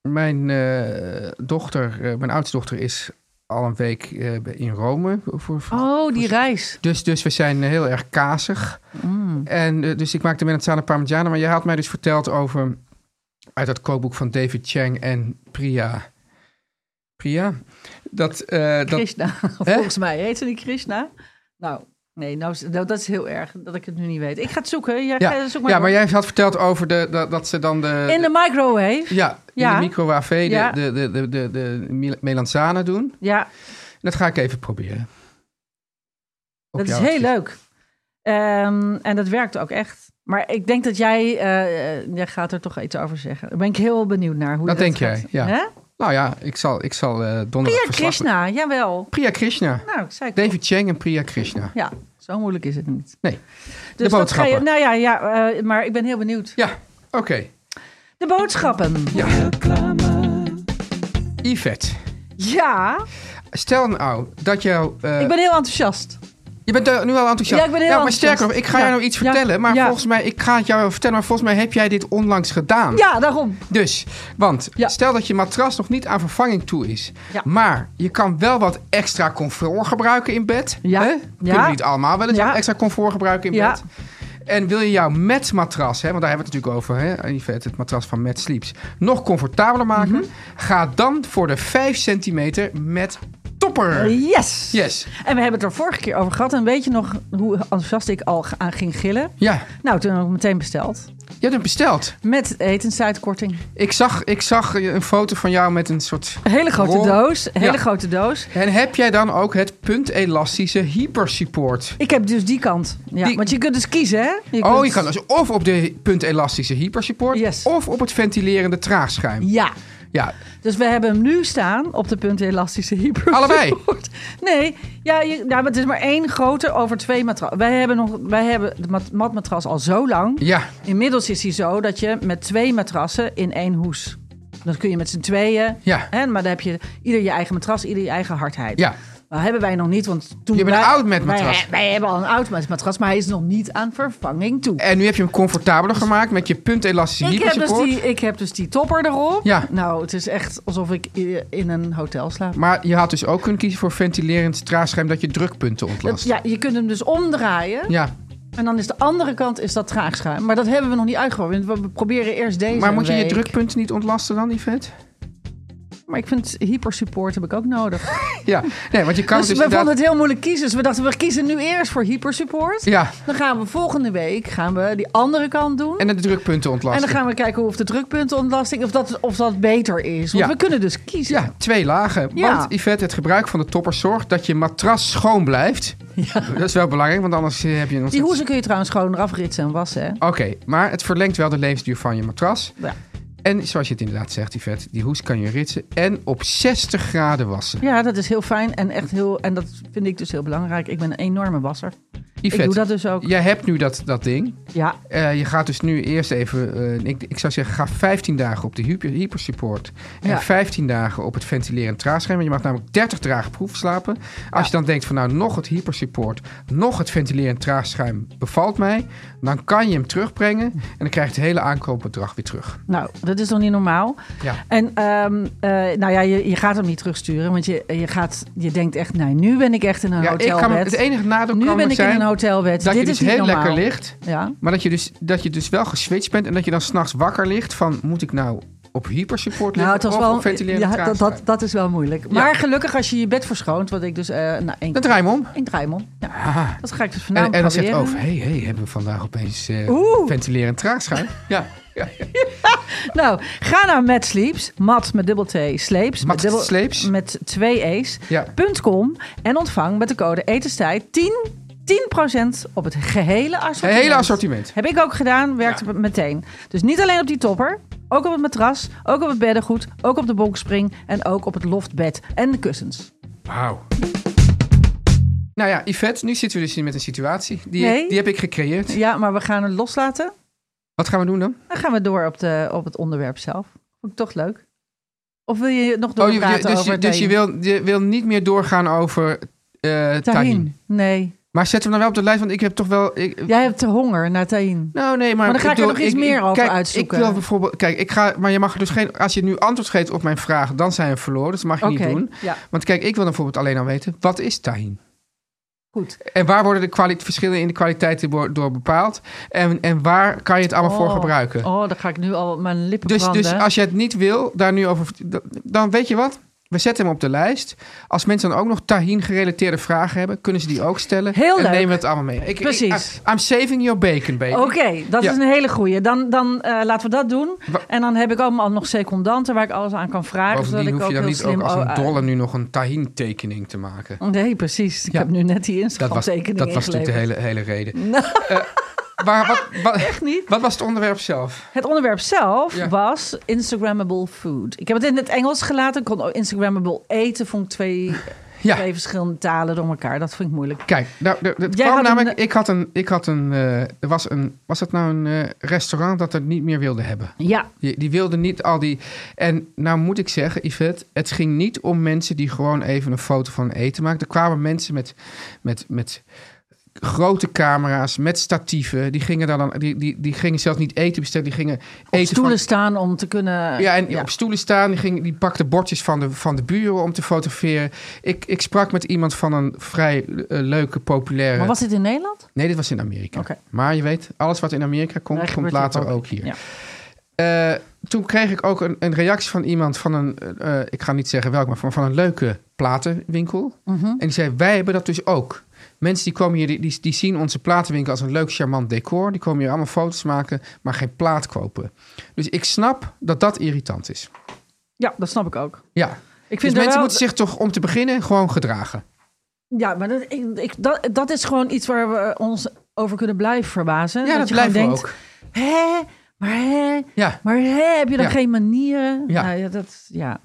B: mijn eh, dochter, eh, mijn oudste dochter is al een week eh, in Rome voor, voor
C: Oh, die rijst.
B: Dus, dus we zijn eh, heel erg kazig.
C: Mm.
B: En, eh, dus ik maakte Melanzane Parmigiana. Maar jij had mij dus verteld over... uit dat kookboek van David Chang en Priya. Priya? Dat, eh, dat,
C: Krishna. Volgens mij heet ze die Krishna. Nou, nee, nou, is- nou, dat is heel erg dat ik het nu niet weet. Ik ga het zoeken. Jij,
B: ja,
C: ga- zoek maar
B: ja,
C: door.
B: maar jij had verteld over de, dat, dat ze dan de...
C: In de microwave.
B: ja, in
C: Ja.
B: de microwave de,
C: Ja.
B: de, de, de, de, de mel- melanzane doen.
C: Ja,
B: Dat ga ik even proberen. Op
C: dat is
B: jouw
C: heel
B: advies.
C: leuk. Ehm, en dat werkt ook echt. Maar ik denk dat jij, eh, eh, jij gaat er toch iets over zeggen. Daar ben ik heel benieuwd naar. Hoe
B: Dat
C: je
B: denk
C: gaat-
B: jij, ja.
C: Hè?
B: Nou ja, ik zal, ik zal eh donderdag
C: Priya
B: verslag-
C: Krishna, jawel.
B: Priya Krishna.
C: Nou, ik zei het
B: David Chang en Priya Krishna.
C: al. Ja, zo moeilijk is het niet.
B: Nee.
C: Dus dat ga je,
B: boodschappen.
C: nou ja, ja eh, maar ik ben heel benieuwd.
B: Ja, oké.
C: De boodschappen. Ja.
B: Yvette, stel nou dat jouw... eh,
C: Ik ben heel enthousiast.
B: Je bent eh, nu al enthousiast.
C: Ja, ik ben heel
B: ja, maar
C: enthousiast.
B: sterker nog, ik ga
C: Ja.
B: jou nou iets
C: Ja.
B: vertellen. Maar
C: Ja.
B: volgens mij, ik ga het jou vertellen, maar volgens mij heb jij dit onlangs gedaan.
C: Ja, daarom.
B: Dus, want
C: Ja.
B: stel dat je matras nog niet aan vervanging toe is.
C: Ja.
B: Maar je kan wel wat extra comfort gebruiken in bed.
C: Ja.
B: Hè?
C: Ja.
B: Kunnen we niet allemaal wel eens
C: Ja.
B: wat extra comfort gebruiken in
C: Ja.
B: bed. En wil je jouw met matras, hè, want daar hebben we het natuurlijk over, hè, Yvette, het matras van Met Sleeps, nog comfortabeler maken?
C: Mhm.
B: Ga dan voor de 5 centimeter met topper.
C: Yes.
B: Yes.
C: En we hebben het er vorige keer over gehad. En weet je nog hoe enthousiast ik al g- aan ging gillen?
B: Ja,
C: Nou, toen heb ik meteen besteld.
B: je hebt hem besteld.
C: Met etenstijdkorting.
B: Ik zag, ik zag eh, een foto van jou met een soort...
C: Een hele grote
B: Rol.
C: doos. Een hele
B: Ja.
C: grote doos.
B: En heb jij dan ook het puntelastische hypersupport?
C: Ik heb dus die kant. Ja,
B: Die-
C: Want je kunt dus kiezen, hè?
B: Oh,
C: kunt-
B: je kan dus of op de puntelastische hypersupport...
C: Yes.
B: of op het ventilerende traagschuim.
C: Ja.
B: Ja,
C: Dus we hebben hem nu staan op de punten elastische hyper.
B: Allebei?
C: Nee, ja, je, nou, maar het is maar één grote over twee matrassen. Wij hebben, nog, wij hebben de mat, matmatras al zo lang.
B: ja.
C: Inmiddels is hij zo dat je met twee matrassen in één hoes. Dan kun je met z'n tweeën.
B: Ja.
C: Hè, maar dan heb je ieder je eigen matras, ieder je eigen hardheid.
B: Ja.
C: Dat hebben wij nog niet, want toen
B: Je bent
C: wij-
B: oud met
C: wij-
B: matras.
C: Wij, hebben al een oud met matras, maar hij is nog niet aan vervanging toe.
B: En nu heb je hem comfortabeler gemaakt met je puntelastische
C: Dus- Ik heb, dus
B: hypersupport.
C: die, ik heb dus die topper erop.
B: Ja.
C: Nou, het is echt alsof ik i- in een hotel slaap.
B: Maar je had dus ook kunnen kiezen voor ventilerend traagschuim... dat je drukpunten
C: Dat,
B: ontlast.
C: ja, je kunt hem dus omdraaien.
B: ja.
C: En dan is de andere kant is dat traagschuim. Maar dat hebben we nog niet uitgeprobeerd. want We proberen eerst deze
B: Maar moet je je
C: week.
B: drukpunten niet ontlasten dan, Yvette?
C: Maar ik vind hypersupport heb ik ook nodig.
B: Ja, nee, want je kan
C: dus we
B: het dus inderdaad...
C: vonden het heel moeilijk kiezen. Dus we dachten, we kiezen nu eerst voor hypersupport.
B: Ja,
C: Dan gaan we volgende week gaan we die andere kant doen.
B: en de drukpunten ontlasten.
C: En dan gaan we kijken of de drukpuntenontlasting, of dat, of dat beter is. Want
B: Ja.
C: we kunnen dus kiezen.
B: Ja, twee lagen.
C: Ja.
B: Want Yvette, het gebruik van de topper zorgt dat je matras schoon blijft. Dat is wel belangrijk, want anders eh, heb je... een
C: Die
B: ontzettend-
C: hoezen kun je trouwens gewoon eraf ritsen en wassen. Hè?
B: Oké, maar het verlengt wel de levensduur van je matras.
C: Ja.
B: En zoals je het inderdaad zegt, Yvette, die hoes kan je ritsen en op 60 graden wassen.
C: Ja, dat is heel fijn en echt heel. En dat vind ik dus heel belangrijk. Ik ben een enorme wasser.
B: Yvette,
C: Ik doe dat dus ook.
B: jij hebt nu dat, dat ding.
C: Ja,
B: Eh, je gaat dus nu eerst even, eh, ik, ik zou zeggen, ga 15 dagen op de hyper, hypersupport. En
C: Ja.
B: 15 dagen op het ventilerend traagscherm. Want je mag namelijk 30 dagen proefslapen. Als
C: Ja.
B: je dan denkt van nou, nog het hypersupport, nog het ventilerend traagschuim bevalt mij. Dan kan je hem terugbrengen en dan krijg je het hele aankoopbedrag weer terug.
C: nou, dat is toch niet normaal?
B: Ja.
C: En ehm, eh, nou ja, je, je gaat hem niet terugsturen. Want je, je, gaat, je denkt echt, nou, nu ben ik echt in een
B: Ja, ik kan, me-
C: hotelbed.
B: het enige nadeel
C: nu
B: kan
C: ben
B: me
C: ik
B: zijn
C: in een hotelbed.
B: dat
C: Dit
B: je dus
C: is niet
B: heel
C: normaal.
B: lekker ligt.
C: Ja.
B: Maar dat je, dus, dat je dus wel geswitcht bent en dat je dan s'nachts wakker ligt van moet ik nou op hypersupport liggen
C: Nou, het was
B: of
C: wel,
B: op ventilerend
C: ja, dat,
B: traagschuim?
C: dat, dat is wel moeilijk. Maar gelukkig als je je bed verschoont, wat ik dus eh nou, één,
B: Dan draai je hem om.
C: één draai hem om. Ja,
B: Aha.
C: dat ga ik dus
B: En,
C: vanavond
B: en dan zegt
C: proberen.
B: over, hé, hey, hey, hebben we vandaag opeens eh
C: Oeh.
B: ventilerend traagschuim? ja. ja, ja.
C: Nou, ga naar Mad Sleeps. Mat met dubbel T sleeps.
B: Mat
C: met dubbel,
B: Sleeps.
C: Met twee E's.
B: Ja.
C: punt .com en ontvang met de code etenstijd 10, 10% op het gehele assortiment.
B: Hele assortiment.
C: Heb ik ook gedaan, werkte meteen. Dus niet alleen op die topper, ook op het matras, ook op het beddengoed, ook op de bonkspring en ook op het loftbed en de kussens.
B: Wauw. Nou ja, Yvette, nu zitten we dus hier met een situatie. Die,
C: Nee.
B: die heb ik gecreëerd.
C: Ja, maar we gaan het loslaten.
B: Wat gaan we doen dan?
C: Dan gaan we door op, de, op het onderwerp zelf. Vond ik toch leuk. Of wil je nog door
B: je, je-
C: praten
B: dus
C: over
B: je, dus je,
C: Tahin?
B: wil, je wil niet meer doorgaan over eh tahin.
C: Tahin? Nee.
B: Maar zet hem dan wel op de lijst, want ik heb toch wel... Ik,
C: Jij hebt de honger naar Tahin.
B: Nou, nee, maar...
C: Maar dan ga ik er
B: bedoel,
C: nog iets meer over
B: kijk,
C: uitzoeken.
B: Ik wil bijvoorbeeld... Kijk, ik ga... Maar je mag er dus geen... Als je nu antwoord geeft op mijn vraag, dan zijn we verloren. Dat mag je
C: Oké,
B: niet doen.
C: ja.
B: Want kijk, ik wil dan bijvoorbeeld alleen al weten... Wat is tahin?
C: Goed.
B: En waar worden de kwali- verschillen in de kwaliteit door, door bepaald? En, en waar kan je het allemaal voor
C: Oh.
B: gebruiken?
C: Oh, dan ga ik nu al mijn lippen
B: Dus,
C: branden.
B: dus als je het niet wil, daar nu over... Dan weet je wat? We zetten hem op de lijst. Als mensen dan ook nog tahin-gerelateerde vragen hebben... kunnen ze die ook stellen.
C: Heel
B: en
C: leuk.
B: nemen we het allemaal mee. Ik,
C: Precies.
B: Ik, I'm saving your bacon, baby.
C: Oké, dat
B: Ja.
C: is een hele goeie. Dan, dan eh, laten we dat doen.
B: Wa-
C: en dan heb ik allemaal nog secondanten waar ik alles aan kan vragen.
B: Bovendien
C: zodat
B: hoef
C: ik
B: je
C: ook
B: dan
C: heel
B: niet ook
C: slim
B: als een
C: oh,
B: dolle nu nog een tahin-tekening te maken.
C: eh, Nee, precies. Ik
B: Ja.
C: heb nu net die
B: Dat was,
C: Instagram-tekening
B: dat was natuurlijk de
C: ingeleverd.
B: hele,
C: Nou.
B: hele reden. Eh, maar wat, wat,
C: Echt niet.
B: wat was het onderwerp zelf?
C: Het onderwerp zelf
B: Ja.
C: was Instagrammable food. Ik heb het in het Engels gelaten. Ik kon Instagrammable eten, vond ik twee
B: Ja.
C: Twee verschillende talen door elkaar. Dat vind ik moeilijk.
B: Kijk, nou, de- de- het
C: Jij
B: kwam
C: had
B: namelijk,
C: een- eh-
B: ik had een, ik had een, eh, er was een, was het nou een eh, restaurant dat het niet meer wilde hebben?
C: Ja,
B: Die, die wilde niet al die, en nou moet ik zeggen, Yvette, het ging niet om mensen die gewoon even een foto van eten maakten. Er kwamen mensen met, met, met grote camera's, met statieven, die gingen daar dan, die, die, die gingen zelfs niet eten bestellen, die gingen
C: op
B: eten van-
C: stoelen staan om te kunnen...
B: ja, en op stoelen staan. Die, ging, die pakte bordjes van de, van de buren om te fotograferen. Ik, ik sprak met iemand van een vrij eh, leuke, populaire...
C: Maar was Oh. dit in Nederland?
B: Nee, dit was in Amerika.
C: Oké.
B: Maar je weet, alles wat in Amerika komt,
C: Daar
B: komt
C: gebeurt dit
B: later ook hier.
C: Ja.
B: Eh, toen kreeg ik ook een, een reactie van iemand van een, eh, eh, ik ga niet zeggen welk, maar van, van een leuke platenwinkel.
C: Mhm.
B: En die zei, wij hebben dat dus ook. Mensen die komen hier, die, die, die zien onze platenwinkel als een leuk, charmant decor. Die komen hier allemaal foto's maken, maar geen plaat kopen. Dus ik snap dat dat irritant is.
C: ja, dat snap ik ook.
B: Ja.
C: Ik
B: dus
C: vind
B: mensen
C: er wel-
B: moeten zich toch om te beginnen gewoon gedragen.
C: Ja, maar dat, ik, ik, dat, dat is gewoon iets waar we ons over kunnen blijven verbazen.
B: Ja, dat,
C: je gewoon
B: blijven we
C: denkt,
B: ook.
C: Hè? Maar hè?
B: Ja.
C: Maar hè? Heb je dan
B: Ja.
C: geen manieren?
B: Ja.
C: Nou, ja, dat, ja.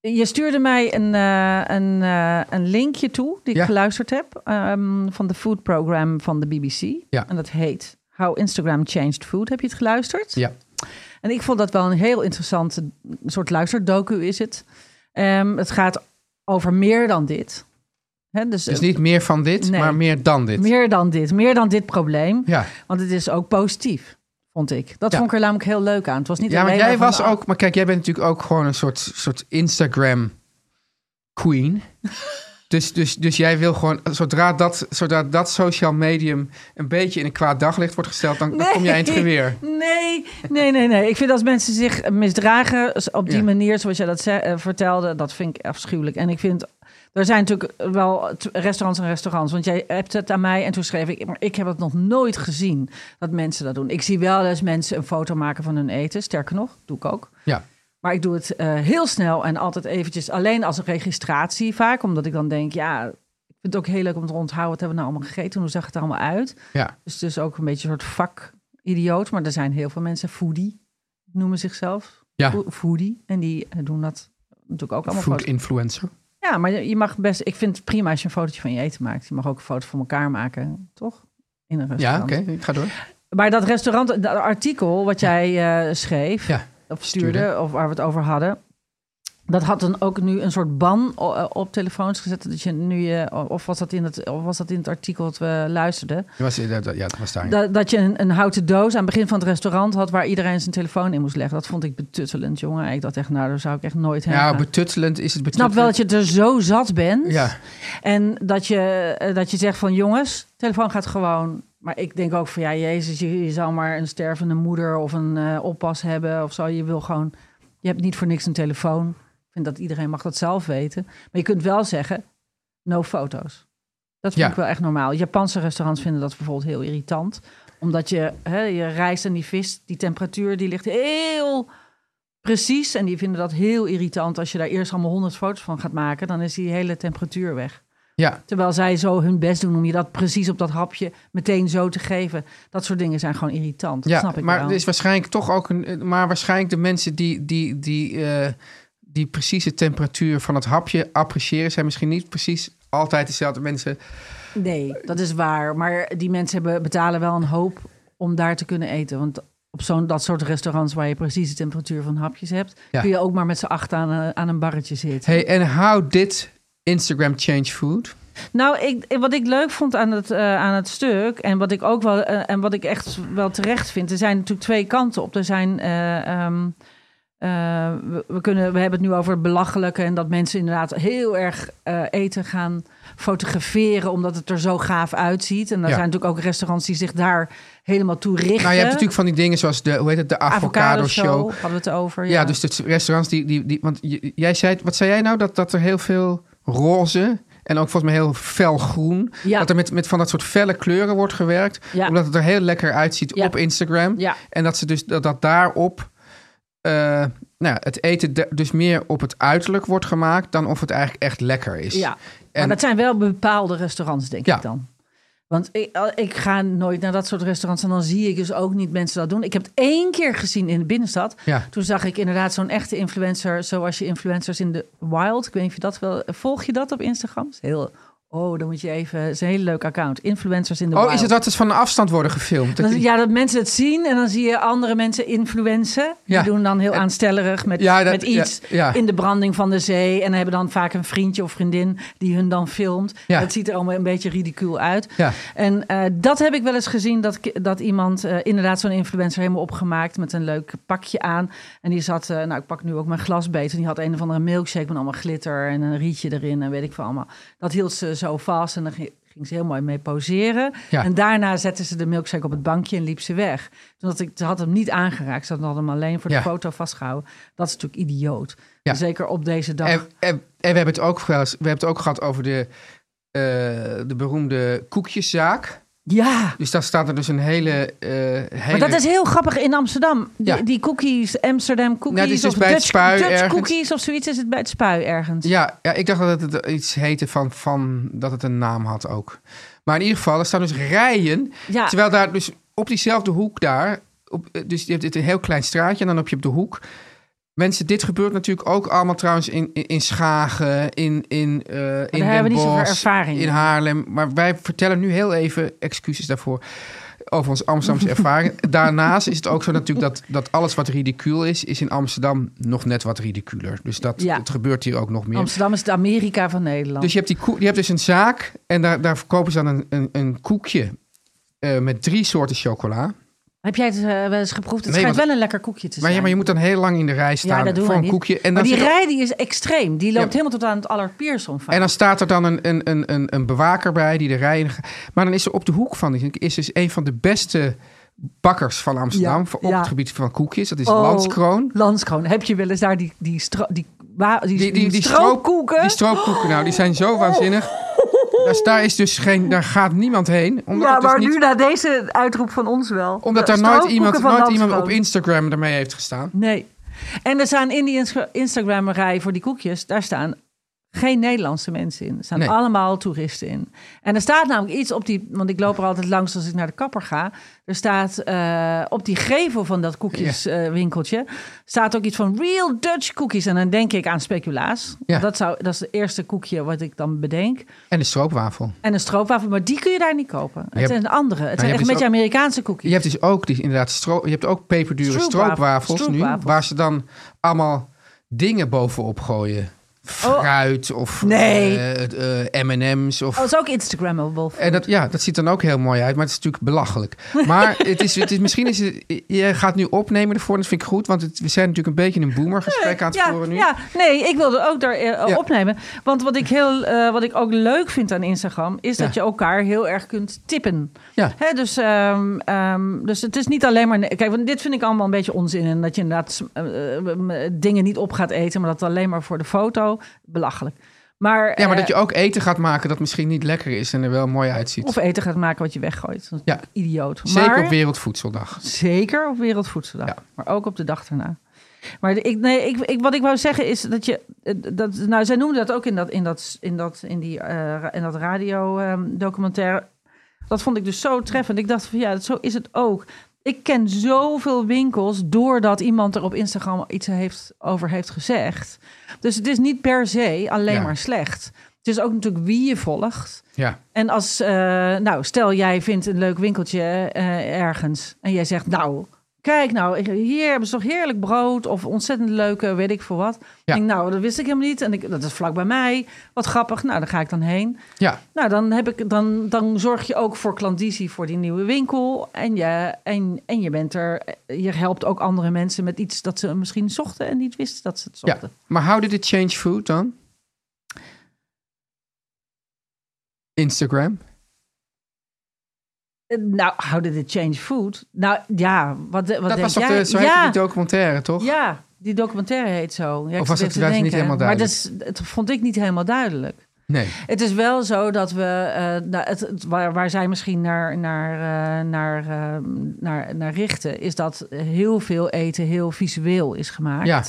C: Je stuurde mij een, eh, een, eh, een linkje toe die ik
B: Ja.
C: geluisterd heb ehm, van de food program van de BBC.
B: Ja.
C: En dat heet How Instagram Changed Food. Heb je het geluisterd?
B: Ja.
C: En ik vond dat wel een heel interessante soort luisterdocu is het. Ehm, het gaat over meer dan dit. Hè, dus
B: Dus
C: eh,
B: niet meer van dit,
C: Nee.
B: maar meer dan dit.
C: meer dan dit, meer dan dit probleem.
B: Ja.
C: Want het is ook positief, vond ik. Dat
B: Ja.
C: vond ik er namelijk heel leuk aan. Het was niet
B: Ja,
C: alleen
B: want jij
C: maar
B: was
C: van, oh,
B: ook... Maar kijk, jij bent natuurlijk ook gewoon een soort, soort Instagram queen. dus, dus, dus jij wil gewoon... Zodra dat, zodra dat social medium een beetje in een kwaad daglicht wordt gesteld... dan, dan kom jij in het geweer.
C: Nee, nee, nee, nee. Ik vind als mensen zich misdragen op die
B: Ja.
C: manier, zoals jij dat ze- eh, vertelde, dat vind ik afschuwelijk. En ik vind, er zijn natuurlijk wel t- restaurants en restaurants. Want jij hebt het aan mij en toen schreef ik, maar ik heb het nog nooit gezien dat mensen dat doen. Ik zie wel eens mensen een foto maken van hun eten. Sterker nog, doe ik ook.
B: Ja.
C: Maar ik doe het eh, heel snel en altijd eventjes alleen als een registratie vaak. Omdat ik dan denk, ja, ik vind het ook heel leuk om te onthouden. Wat hebben we nou allemaal gegeten? Hoe zag het er allemaal uit?
B: Ja.
C: Dus het is ook een beetje een soort vakidioot. Maar er zijn heel veel mensen, foodie noemen zichzelf.
B: Ja.
C: Fo- Foodie. En die eh, doen dat natuurlijk ook allemaal
B: Food
C: foto's.
B: influencer.
C: Ja, maar je je mag best... Ik vind het prima als je een fotootje van je eten maakt. Je mag ook een foto van elkaar maken, toch? In een
B: Ja,
C: restaurant.
B: oké. Ik ga door.
C: Maar dat restaurant, dat artikel wat jij eh, schreef
B: Ja.
C: of stuurde, of waar we het over hadden. Dat had dan ook nu een soort ban o- eh, op telefoons gezet. Dat je nu je, of was dat in het, of was dat in het artikel dat we luisterden?
B: Dat was, dat- dat- ja, dat was daar.
C: Dat, dat je een, een houten doos aan het begin van het restaurant had waar iedereen zijn telefoon in moest leggen. Dat vond ik betuttelend, jongen. Ik dacht echt, nou, daar zou ik echt nooit heen.
B: ja,
C: gaan.
B: betuttelend is het
C: Ik snap
B: betuttelend.
C: wel dat je er zo zat bent.
B: Ja.
C: En dat je, eh, dat je zegt van jongens, telefoon gaat gewoon. Maar ik denk ook van ja, Jezus, je, je zal maar een stervende moeder of een eh, oppas hebben of zo. Je wil gewoon, je hebt niet voor niks een telefoon. Ik vind dat iedereen mag dat zelf weten. Maar je kunt wel zeggen, no foto's. Dat vind
B: Ja.
C: ik wel echt normaal. Japanse restaurants vinden dat bijvoorbeeld heel irritant. Omdat je, hè, je rijst en die vis, die temperatuur, die ligt heel Precies, en die vinden dat heel irritant als je daar eerst allemaal honderd foto's van gaat maken. Dan is die hele temperatuur weg.
B: Ja.
C: Terwijl zij zo hun best doen om je dat precies op dat hapje meteen zo te geven. Dat soort dingen zijn gewoon irritant. Dat
B: ja,
C: snap ik
B: maar
C: wel.
B: er is waarschijnlijk toch ook een. eh, Maar waarschijnlijk de mensen die, die, die, eh, die precieze temperatuur van het hapje appreciëren, zijn misschien niet precies altijd dezelfde mensen.
C: Nee, dat is waar. Maar die mensen hebben, betalen wel een hoop om daar te kunnen eten. Want op zo'n dat soort restaurants waar je precies de temperatuur van hapjes hebt,
B: Ja.
C: kun je ook maar met z'n acht aan, eh, aan een barretje zitten.
B: Hey, en how did Instagram change food?
C: Nou, ik, wat ik leuk vond aan het, eh, aan het stuk en wat ik ook wel eh, en wat ik echt wel terecht vind, er zijn natuurlijk twee kanten op. Er zijn, eh, ehm, eh, we, we kunnen, we hebben het nu over het belachelijke en dat mensen inderdaad heel erg eh, eten gaan fotograferen omdat het er zo gaaf uitziet. En er
B: Ja.
C: zijn natuurlijk ook restaurants die zich daar helemaal toe richten.
B: Nou, je hebt natuurlijk van die dingen zoals de, hoe heet het, de avocado show.
C: hadden we het over.
B: Ja, dus de restaurants die, die, die want j- jij zei, wat zei jij nou? Dat, dat er heel veel roze en ook volgens mij heel fel groen.
C: Ja.
B: Dat er met, met van dat soort felle kleuren wordt gewerkt.
C: Ja.
B: Omdat het er heel lekker uitziet
C: Ja.
B: op Instagram.
C: Ja.
B: En dat ze dus dat, dat daarop eh, nou, ja, het eten de- dus meer op het uiterlijk wordt gemaakt dan of het eigenlijk echt lekker is. Oh,
C: Ja,
B: En-
C: maar dat zijn wel bepaalde restaurants, denk
B: Ja.
C: ik dan. Want ik, al- ik ga nooit naar dat soort restaurants en dan zie ik dus ook niet mensen dat doen. Ik heb het één keer gezien in de binnenstad.
B: Ja.
C: Toen zag ik inderdaad zo'n echte influencer, zoals je influencers in de wild. Ik weet niet of je dat wel. Volg je dat op Instagram? Is heel. Oh, dan moet je even. Het is een hele leuk account. Influencers in de wild.
B: Oh, is het dat het van een afstand worden gefilmd? Dat
C: Dan-
B: die-
C: ja, dat mensen het zien en dan zie je andere mensen influencen. Die
B: Ja.
C: doen dan heel aanstellerig met,
B: Ja, dat-
C: met iets
B: ja, ja.
C: in de branding van de zee. En hebben dan vaak een vriendje of vriendin die hun dan filmt.
B: Ja.
C: Dat ziet er allemaal een beetje ridicuul uit.
B: Ja.
C: En eh, dat heb ik wel eens gezien, dat, ki- dat iemand eh, inderdaad zo'n influencer helemaal opgemaakt met een leuk pakje aan. En die zat, eh, nou ik pak nu ook mijn glas beet. En die had een of andere milkshake met allemaal glitter en een rietje erin en weet ik veel allemaal. Dat hield ze zo vast en dan ging, ging ze heel mooi mee poseren.
B: Ja.
C: En daarna zette ze de milkshake op het bankje en liep ze weg. Toen had ik, ze had hem niet aangeraakt, ze had hem alleen voor de
B: Ja.
C: foto vastgehouden. Dat is natuurlijk idioot.
B: Ja.
C: Zeker op deze dag.
B: En, en, en we, hebben het ook wel eens- we hebben het ook gehad over de, eh, de beroemde koekjeszaak.
C: ja,
B: Dus daar staat er dus een hele... eh, hele...
C: Maar dat is heel grappig in Amsterdam. Die,
B: Ja.
C: die cookies, Amsterdam cookies.
B: Nou, dit is
C: of
B: dus bij het
C: Dutch,
B: spui
C: Dutch
B: ergens.
C: cookies of zoiets is het bij het spui ergens.
B: Ja, ja, ik dacht dat het iets heette van, van dat het een naam had ook. Maar in ieder geval, er staan dus rijen.
C: Ja.
B: Terwijl daar dus op diezelfde hoek daar, op, eh, dus je hebt dit een heel klein straatje en dan heb je op de hoek. Mensen, dit gebeurt natuurlijk ook allemaal trouwens in, in, in Schagen, in, in, eh in Den
C: hebben we niet zoveel
B: Bosch,
C: ervaring
B: in
C: in.
B: Haarlem. Maar wij vertellen nu heel even excuses daarvoor over onze Amsterdamse ervaring. Daarnaast is het ook zo natuurlijk dat, dat alles wat ridicuul is, is in Amsterdam nog net wat ridiculer. Dus dat,
C: Ja.
B: het gebeurt hier ook nog meer.
C: Amsterdam is het Amerika van Nederland.
B: Dus je hebt, die koe- je hebt dus een zaak en daar, daar verkopen ze dan een, een, een koekje eh, met drie soorten chocola.
C: Heb jij het eh, wel eens geproefd? Het
B: Nee,
C: schijnt
B: want-
C: wel een lekker koekje te
B: Maar,
C: zijn.
B: ja, maar je moet dan heel lang in de rij
C: Ja,
B: staan
C: dat doen
B: voor
C: wij
B: een
C: niet.
B: koekje. En
C: maar
B: dan,
C: die
B: zit-
C: rij die is extreem. Die loopt
B: Ja.
C: helemaal tot aan het Allerpiersson vaak.
B: en dan staat er dan een, een, een, een, een bewaker bij die de rij... in- Maar dan is er op de hoek van, die- is dus een van de beste bakkers van Amsterdam...
C: Ja,
B: voor- op
C: ja.
B: het gebied van koekjes, dat is
C: Oh,
B: Landskroon.
C: Landskroon. Heb je wel eens daar die, die, stro, die, wa-
B: Die,
C: die, die
B: stroop-
C: stroopkoeken? Oh.
B: Die stroopkoeken, nou, die zijn zo waanzinnig. Dus daar, is dus geen, daar gaat niemand heen. Omdat
C: ja,
B: het dus
C: maar
B: niet...
C: nu na deze uitroep van ons wel.
B: Omdat
C: De
B: daar nooit
C: stroopkoeken
B: iemand,
C: van
B: nooit iemand op
C: Landskroon.
B: Instagram ermee heeft gestaan.
C: Nee. En er staan in die ins- Instagram-rij voor die koekjes, daar staan geen Nederlandse mensen in. Er staan
B: Nee.
C: allemaal toeristen in. En er staat namelijk iets op die, want ik loop er altijd langs als ik naar de kapper ga. Er staat eh, op die gevel van dat koekjeswinkeltje, staat ook iets van real Dutch cookies. En dan denk ik aan speculaas.
B: Ja.
C: Dat, zou, dat is het eerste koekje wat ik dan bedenk.
B: En de stroopwafel.
C: En een stroopwafel, maar die kun je daar niet kopen.
B: hebt-
C: Het zijn andere. Het zijn
B: hebt
C: echt een
B: dus
C: beetje
B: ook-
C: Amerikaanse koekjes.
B: Je hebt dus ook die, inderdaad stro, je hebt ook peperdure
C: Stroopwafel-
B: stroopwafels nu,
C: stroopwafels.
B: waar ze dan allemaal dingen bovenop gooien. Fruit of
C: Oh. Nee.
B: eh, eh, M&M's of
C: Oh, dat is ook Instagrammable.
B: En dat, ja, dat ziet dan ook heel mooi uit, maar het is natuurlijk belachelijk. Maar het is, het is, misschien is het, je gaat nu opnemen ervoor, en dat vind ik goed, want het, we zijn natuurlijk een beetje een boomergesprek aan het
C: Eh, ja,
B: voeren nu.
C: ja, nee, ik wilde ook daar eh,
B: Ja.
C: opnemen. Want wat ik, heel, eh, wat ik ook leuk vind aan Instagram... is dat
B: Ja.
C: je elkaar heel erg kunt tippen.
B: Ja.
C: Hè, dus, ehm, ehm, dus het is niet alleen maar... Kijk, want dit vind ik allemaal een beetje onzin. En dat je inderdaad eh, eh, dingen niet op gaat eten... maar dat alleen maar voor de foto. Belachelijk. Maar,
B: Ja, maar
C: eh,
B: dat je ook eten gaat maken dat misschien niet lekker is en er wel mooi uitziet.
C: Of eten gaat maken wat je weggooit. Dat is
B: Ja.
C: natuurlijk idioot.
B: Zeker
C: maar,
B: op Wereldvoedseldag.
C: Zeker op Wereldvoedseldag.
B: Ja.
C: Maar ook op de dag daarna. Maar de- ik, nee, ik, ik, wat ik wou zeggen is dat je. eh, Dat, nou, zij noemden dat ook in dat, in dat, in dat, in die, eh, ra- in dat radio-documentaire. dat vond ik dus zo treffend. Ik dacht van ja, zo is het ook. Ik ken zoveel winkels doordat iemand er op Instagram iets heeft, over heeft gezegd. Dus het is niet per se alleen
B: Ja.
C: maar slecht. Het is ook natuurlijk wie je volgt.
B: Ja.
C: En als, eh, nou, stel jij vindt een leuk winkeltje eh, ergens en jij zegt, nou, kijk nou, hier hebben ze toch heerlijk brood of ontzettend leuke, weet ik veel wat. Ik denk, nou, dat wist ik helemaal niet en ik, dat is vlak bij mij. Wat grappig, nou, daar ga ik dan heen.
B: ja.
C: Nou, dan, heb ik, dan, dan zorg je ook voor klandizie voor die nieuwe winkel en je, en, en je bent er, je helpt ook andere mensen met iets dat ze misschien zochten en niet wisten dat ze het
B: Ja,
C: zochten.
B: maar how did it change food dan? Instagram?
C: Eh, Nou, how did it change food? Nou ja, wat, wat
B: dat
C: denk
B: was toch
C: jij?
B: de, zo heette
C: ja.
B: die documentaire, toch?
C: Ja, die documentaire heet zo. Ja, ik
B: Of was
C: zit
B: het
C: even te
B: juist niet
C: denken.
B: helemaal
C: Maar dat, is, dat vond ik niet helemaal duidelijk.
B: Nee.
C: Het is wel zo dat we, eh, nou, het, het- waar, waar zij misschien naar, naar, eh, naar, eh, naar, naar richten, is dat heel veel eten heel visueel is gemaakt.
B: Ja.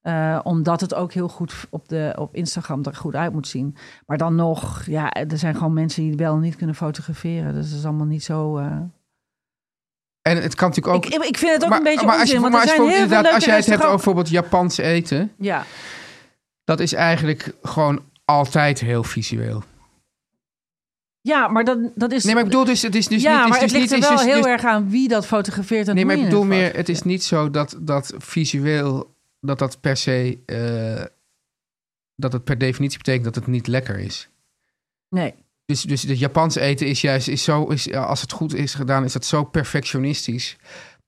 C: Eh, omdat het ook heel goed op, de, op Instagram er goed uit moet zien. Maar dan nog, ja, er zijn gewoon mensen die het wel en niet kunnen fotograferen. Dus dat is allemaal niet zo... eh,
B: En het kan natuurlijk ook...
C: ik, ik vind het ook een beetje
B: maar als je,
C: onzin, want
B: maar
C: er
B: als je
C: zijn heel veel
B: bijvoorbeeld inderdaad,
C: leuke
B: als jij het hebt over
C: restaurants.
B: bijvoorbeeld Japans eten,
C: Ja,
B: dat is eigenlijk gewoon altijd heel visueel.
C: ja maar dat, dat is...
B: Nee, maar ik bedoel dus, het is dus
C: ja,
B: niet...
C: maar
B: is
C: het
B: dus
C: ligt er
B: niet, is
C: wel
B: dus-
C: heel
B: dus-
C: erg aan wie dat fotografeert en
B: Nee,
C: hoe
B: maar ik
C: je
B: bedoel meer, het
C: fotografeert.
B: is niet zo dat, dat visueel, dat dat per se, eh, dat het per definitie betekent dat het niet lekker is.
C: Nee,
B: Dus, dus het Japans eten is juist, is zo, is, als het goed is gedaan, is dat zo perfectionistisch.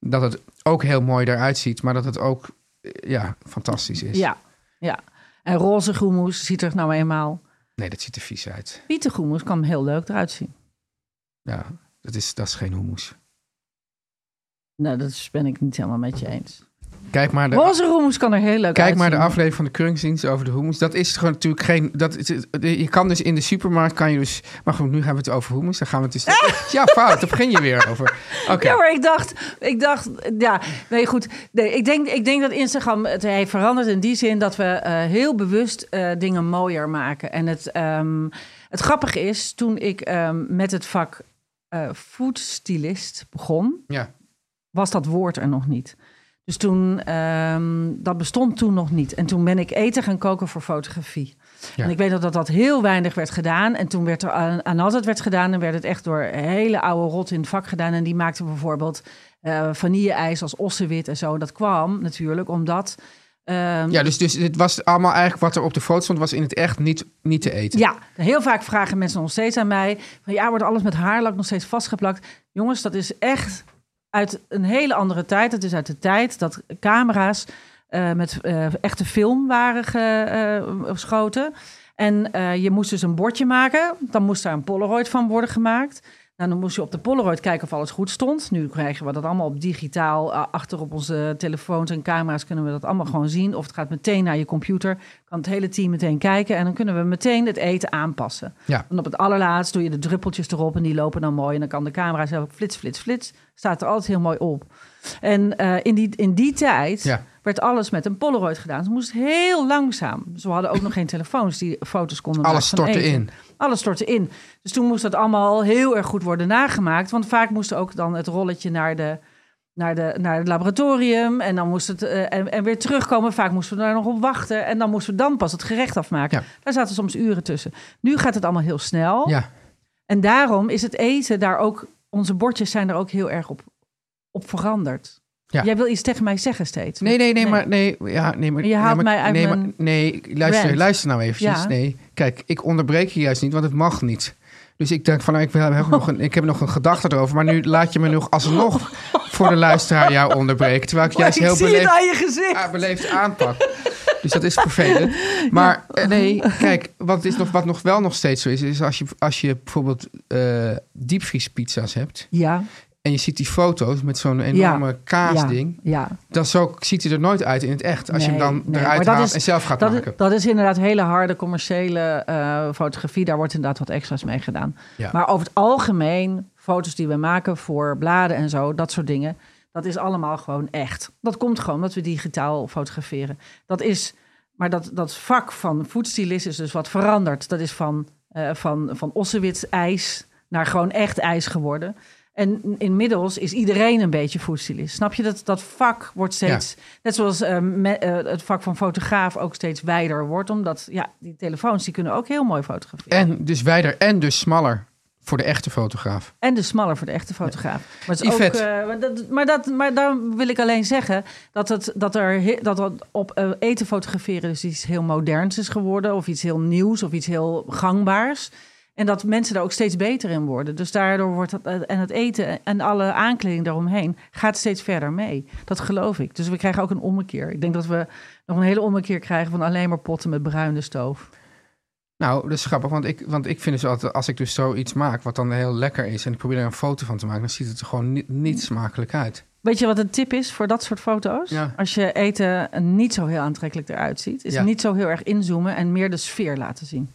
B: Dat het ook heel mooi eruit ziet, maar dat het ook eh, ja, fantastisch is.
C: ja, ja. En roze groenmoes ziet er nou eenmaal...
B: Nee, dat ziet er vies uit.
C: Witte groenmoes kan heel leuk eruit zien.
B: Ja, dat is, dat is geen hummus.
C: Nou, dat ben ik niet helemaal met je eens.
B: Kijk maar de,
C: Roze roemoes kan er heel leuk
B: kijk maar de
C: uitzien.
B: aflevering van de Keuringsdienst over de hummus. Dat is gewoon natuurlijk geen... Dat, is- je kan dus in de supermarkt, kan je dus... Maar goed, nu gaan we het over hummus. Dan gaan we het dus... Ja, fout. Daar begin je weer over. Oké.
C: Ah! Ja, maar ik dacht, ik dacht, ja, nee, goed. Nee, ik, denk, ik denk dat Instagram het heeft veranderd in die zin dat we eh, heel bewust eh, dingen mooier maken. En het, ehm, het grappige is, toen ik ehm, met het vak eh foodstylist begon,
B: Ja.
C: was dat woord er nog niet. Dus toen, ehm, dat bestond toen nog niet. En toen ben ik eten gaan koken voor fotografie.
B: Ja.
C: En ik weet nog dat dat heel weinig werd gedaan. En toen werd er aan, aan als het werd gedaan, dan werd het echt door hele oude rot in het vak gedaan. En die maakten bijvoorbeeld eh vanille-ijs als ossenwit en zo. En dat kwam natuurlijk omdat. ehm,
B: Ja, dus, dus het was allemaal eigenlijk wat er op de foto stond, was in het echt niet, niet te eten.
C: Ja, heel vaak vragen mensen nog steeds aan mij: van ja, wordt alles met haarlak nog steeds vastgeplakt? Jongens, dat is echt uit een hele andere tijd. Het is uit de tijd dat camera's eh, met eh, echte film waren eh, geschoten. En eh, je moest dus een bordje maken. Dan moest daar een Polaroid van worden gemaakt. Nou, dan moest je op de Polaroid kijken of alles goed stond. Nu krijgen we dat allemaal op digitaal. eh, achter op onze telefoons en camera's kunnen we dat allemaal gewoon zien. Of het gaat meteen naar je computer. Kan het hele team meteen kijken. En dan kunnen we meteen het eten aanpassen.
B: Ja.
C: En op het allerlaatst doe je de druppeltjes erop en die lopen dan mooi. En dan kan de camera zelf flits, flits, flits. Staat er altijd heel mooi op. En eh, in, die, in die tijd
B: Ja.
C: werd alles met een Polaroid gedaan. Ze moest heel langzaam. Ze hadden ook nog geen telefoons die foto's konden
B: Alles
C: maken van
B: stortte
C: eten.
B: in.
C: Alles stortte in. Dus toen moest dat allemaal heel erg goed worden nagemaakt. Want vaak moest ook dan het rolletje naar de naar, de, naar het laboratorium. En dan moest het eh, en, en weer terugkomen. Vaak moesten we daar nog op wachten. En dan moesten we dan pas het gerecht afmaken.
B: Ja.
C: Daar zaten soms uren tussen. Nu gaat het allemaal heel snel.
B: Ja.
C: En daarom is het eten daar ook. Onze bordjes zijn er ook heel erg op, op veranderd.
B: Ja.
C: Jij wil iets tegen mij zeggen steeds.
B: Nee, nee, nee, maar nee, ja, nee, maar
C: Je haalt
B: nee, maar-
C: mij uit
B: nee, maar-
C: mijn
B: nee, luister,
C: rant.
B: luister nou eventjes.
C: Ja.
B: Nee, kijk, ik onderbreek je juist niet, want het mag niet. Dus ik denk van, nou, ik, wil- heb nog een, ik heb nog een gedachte erover, maar nu laat je me nog alsnog voor de luisteraar jou onderbreken, terwijl ik
C: Maar
B: juist
C: Oh, ik
B: heel
C: zie
B: beleefd, Ah,
C: het aan je gezicht.
B: a- beleefd aanpak. Dus dat is vervelend. Maar eh, nee, kijk, wat, is nog, wat nog wel nog steeds zo is, is als je, als je bijvoorbeeld eh diepvriespizza's hebt
C: Ja,
B: en je ziet die foto's met zo'n enorme kaasding,
C: Ja, ja.
B: dan zo ziet hij er nooit uit in het echt. Als je
C: Nee,
B: hem dan
C: nee, maar
B: eruit
C: dat
B: haalt
C: is-
B: en zelf gaat
C: dat,
B: maken.
C: Is, dat is inderdaad hele harde commerciële eh, fotografie. Daar wordt inderdaad wat extra's mee gedaan.
B: Ja.
C: Maar over het algemeen, foto's die we maken voor bladen en zo, dat soort dingen, dat is allemaal gewoon echt. Dat komt gewoon omdat we digitaal fotograferen. Dat is, maar dat, dat vak van foodstylist is dus wat veranderd. Dat is van, eh van, van ossewit ijs naar gewoon echt ijs geworden. En inmiddels is iedereen een beetje foodstylist. Snap je dat dat vak wordt steeds Net zoals eh, me- eh, het vak van fotograaf ook steeds wijder wordt. Omdat ja, die telefoons die kunnen ook heel mooi fotograferen.
B: En dus wijder en dus smaller voor de echte fotograaf.
C: En dus smaller voor de echte fotograaf. Maar, het is ook,
B: Yvette.
C: eh, maar, dat, maar, dat, maar daar wil ik alleen zeggen dat, het, dat er he- dat dat op eh, eten fotograferen dus iets heel moderns is geworden. Of iets heel nieuws of iets heel gangbaars. En dat mensen daar ook steeds beter in worden. Dus daardoor wordt dat, eh, en het eten en alle aankleding daaromheen gaat steeds verder mee. Dat geloof ik. Dus we krijgen ook een ommekeer. Ik denk dat we nog een hele ommekeer krijgen van alleen maar potten met bruine stoof.
B: Nou, dat is grappig, want ik, want ik vind dus altijd, als ik dus zoiets maak wat dan heel lekker is en ik probeer er een foto van te maken, dan ziet het er gewoon niet,
C: Mm.
B: niet smakelijk uit.
C: Weet je wat een tip is voor dat soort foto's?
B: Ja.
C: Als je eten niet zo heel aantrekkelijk eruit ziet, is
B: Ja.
C: niet zo heel erg inzoomen en meer de sfeer laten zien.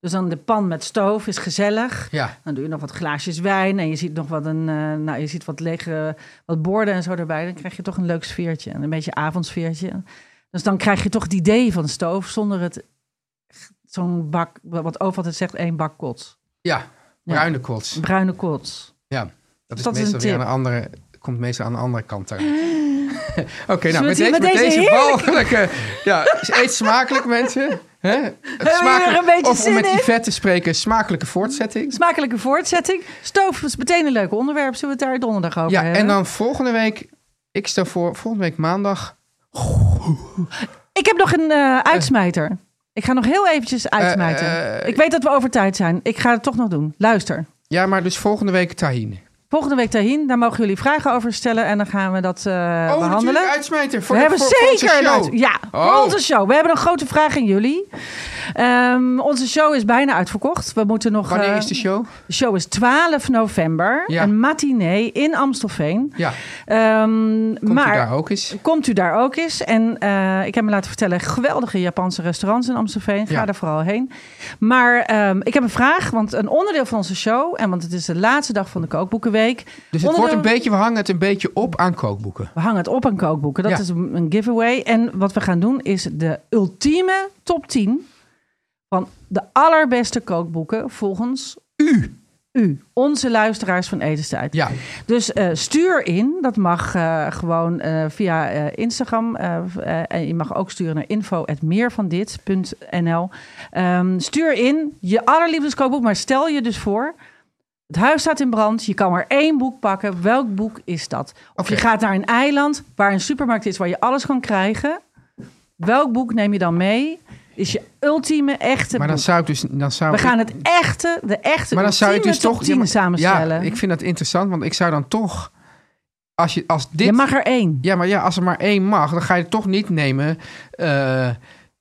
C: Dus dan de pan met stoof is gezellig.
B: Ja,
C: Dan doe je nog wat glaasjes wijn en je ziet nog wat, een, eh, nou, je ziet wat lege wat borden en zo erbij. Dan krijg je toch een leuk sfeertje, en een beetje avondsfeertje. Dus dan krijg je toch het idee van stoof zonder het zo'n bak, wat Oof altijd zegt, één bak kots.
B: Ja, bruine kots.
C: Bruine kots.
B: Ja, dat is
C: Dat is
B: meestal
C: een
B: weer
C: tip.
B: aan de andere, komt meestal aan de andere kant daar. Oké, nou,
C: we
B: met
C: het
B: deze,
C: hier
B: met
C: met
B: deze,
C: deze
B: walgelijke... Ja, eet smakelijk, mensen. Hè? Smakelijk-
C: er een beetje
B: of om
C: zin
B: met
C: in?
B: Yvette te spreken, smakelijke voortzetting.
C: Smakelijke voortzetting. Stoof is meteen een leuk onderwerp. Zullen we het daar donderdag over
B: Ja,
C: hebben?
B: en dan volgende week... Ik stel voor, volgende week maandag...
C: Ik heb nog een eh, uitsmijter. Ik ga nog heel eventjes uitsmijten.
B: eh,
C: ik weet dat we over tijd zijn. Ik ga het toch nog doen. Luister.
B: Ja, maar dus volgende week Tahin.
C: Volgende week daarheen. Daar mogen jullie vragen over stellen. En dan gaan we dat eh,
B: Oh,
C: behandelen.
B: natuurlijk, uitsmijter. Voor
C: We hebben
B: voor- voor onze
C: zeker een
B: show.
C: uit- Ja,
B: Oh.
C: voor onze show. We hebben een grote vraag aan jullie. Ehm, onze show is bijna uitverkocht. We moeten nog.
B: Wanneer
C: eh,
B: is de show?
C: de show is 12 november.
B: Ja.
C: Een matinee in Amstelveen.
B: Ja,
C: Ehm,
B: komt
C: maar
B: u daar ook eens. Dus
C: Komt u daar ook eens. En eh, ik heb me laten vertellen, geweldige Japanse restaurants in Amstelveen. Ga
B: Ja.
C: daar vooral heen. Maar ehm, ik heb een vraag, want een onderdeel van onze show... en want het is de laatste dag van de kookboekenweek.
B: Dus het wordt
C: onderdeel-
B: een beetje, we hangen het een beetje op aan kookboeken.
C: We hangen het op aan kookboeken. Dat
B: Ja.
C: is een een giveaway. En wat we gaan doen is de ultieme top 10 van de allerbeste kookboeken volgens u. U, onze luisteraars van Etenstijd.
B: Ja,
C: Dus eh, stuur in. Dat mag eh, gewoon eh, via eh, Instagram. eh, v- eh, en je mag ook sturen naar info.meervandit.nl Ehm Stuur in je allerliefdes kookboek. Maar stel je dus voor... Het huis staat in brand. Je kan maar één boek pakken. Welk boek is dat? Of je
B: Oké.
C: gaat naar een eiland waar een supermarkt is waar je alles kan krijgen. Welk boek neem je dan mee? Is je ultieme echte
B: maar dan
C: boek.
B: zou ik dus... Dan zou
C: We
B: ik-
C: gaan het echte, de echte
B: maar dan zou je
C: ultieme
B: dus
C: top
B: toch...
C: 10
B: maar-
C: samenstellen.
B: Ja, ik vind dat interessant, want ik zou dan toch... Als, je, als dit...
C: Je mag er één.
B: Ja, maar ja, als er maar één mag, dan ga je toch niet nemen eh,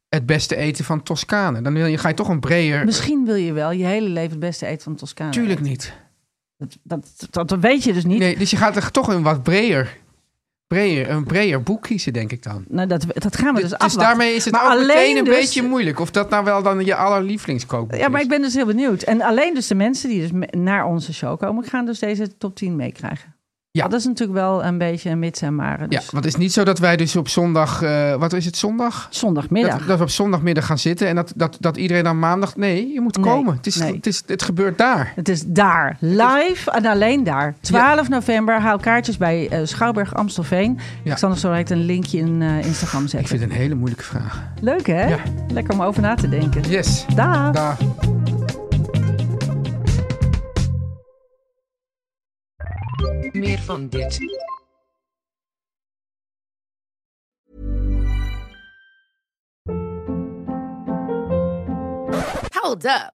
B: het beste eten van Toscane. Dan wil je, ga je toch een breder...
C: Misschien wil je wel je hele leven het beste eten van Toscane.
B: Tuurlijk niet.
C: Dat, dat, dat, dat weet je dus niet.
B: Nee, dus je gaat er toch een wat breder, breder, een breder boek kiezen, denk ik dan.
C: Nou, dat, dat gaan we dus,
B: dus
C: afwachten.
B: daarmee is het
C: Maar
B: ook
C: alleen
B: meteen een
C: dus-
B: beetje moeilijk. Of dat nou wel dan je allerlievelingskookboek
C: Ja, maar
B: is.
C: ik ben dus heel benieuwd. En alleen dus de mensen die dus me- naar onze show komen... gaan dus deze top 10 meekrijgen.
B: Ja.
C: Dat is natuurlijk wel een beetje een mits en maren.
B: Ja,
C: Dus
B: want het is niet zo dat wij dus op zondag... eh, wat is het, zondag?
C: Zondagmiddag.
B: Dat, dat we op zondagmiddag gaan zitten en dat, dat, dat iedereen dan maandag... Nee, je moet
C: Nee,
B: komen. Het, is,
C: nee.
B: het, is, het gebeurt daar.
C: Het is daar, live en alleen daar. 12 november, haal kaartjes bij eh, Schouwburg Amstelveen.
B: Ja.
C: Ik zal nog zo direct een linkje in eh, Instagram zetten.
B: Ik vind het een hele moeilijke vraag.
C: Leuk, hè?
B: Ja.
C: Lekker om over na te denken.
B: Yes.
C: Daag.
B: Dag.
D: Meer van dit.
E: Hold up.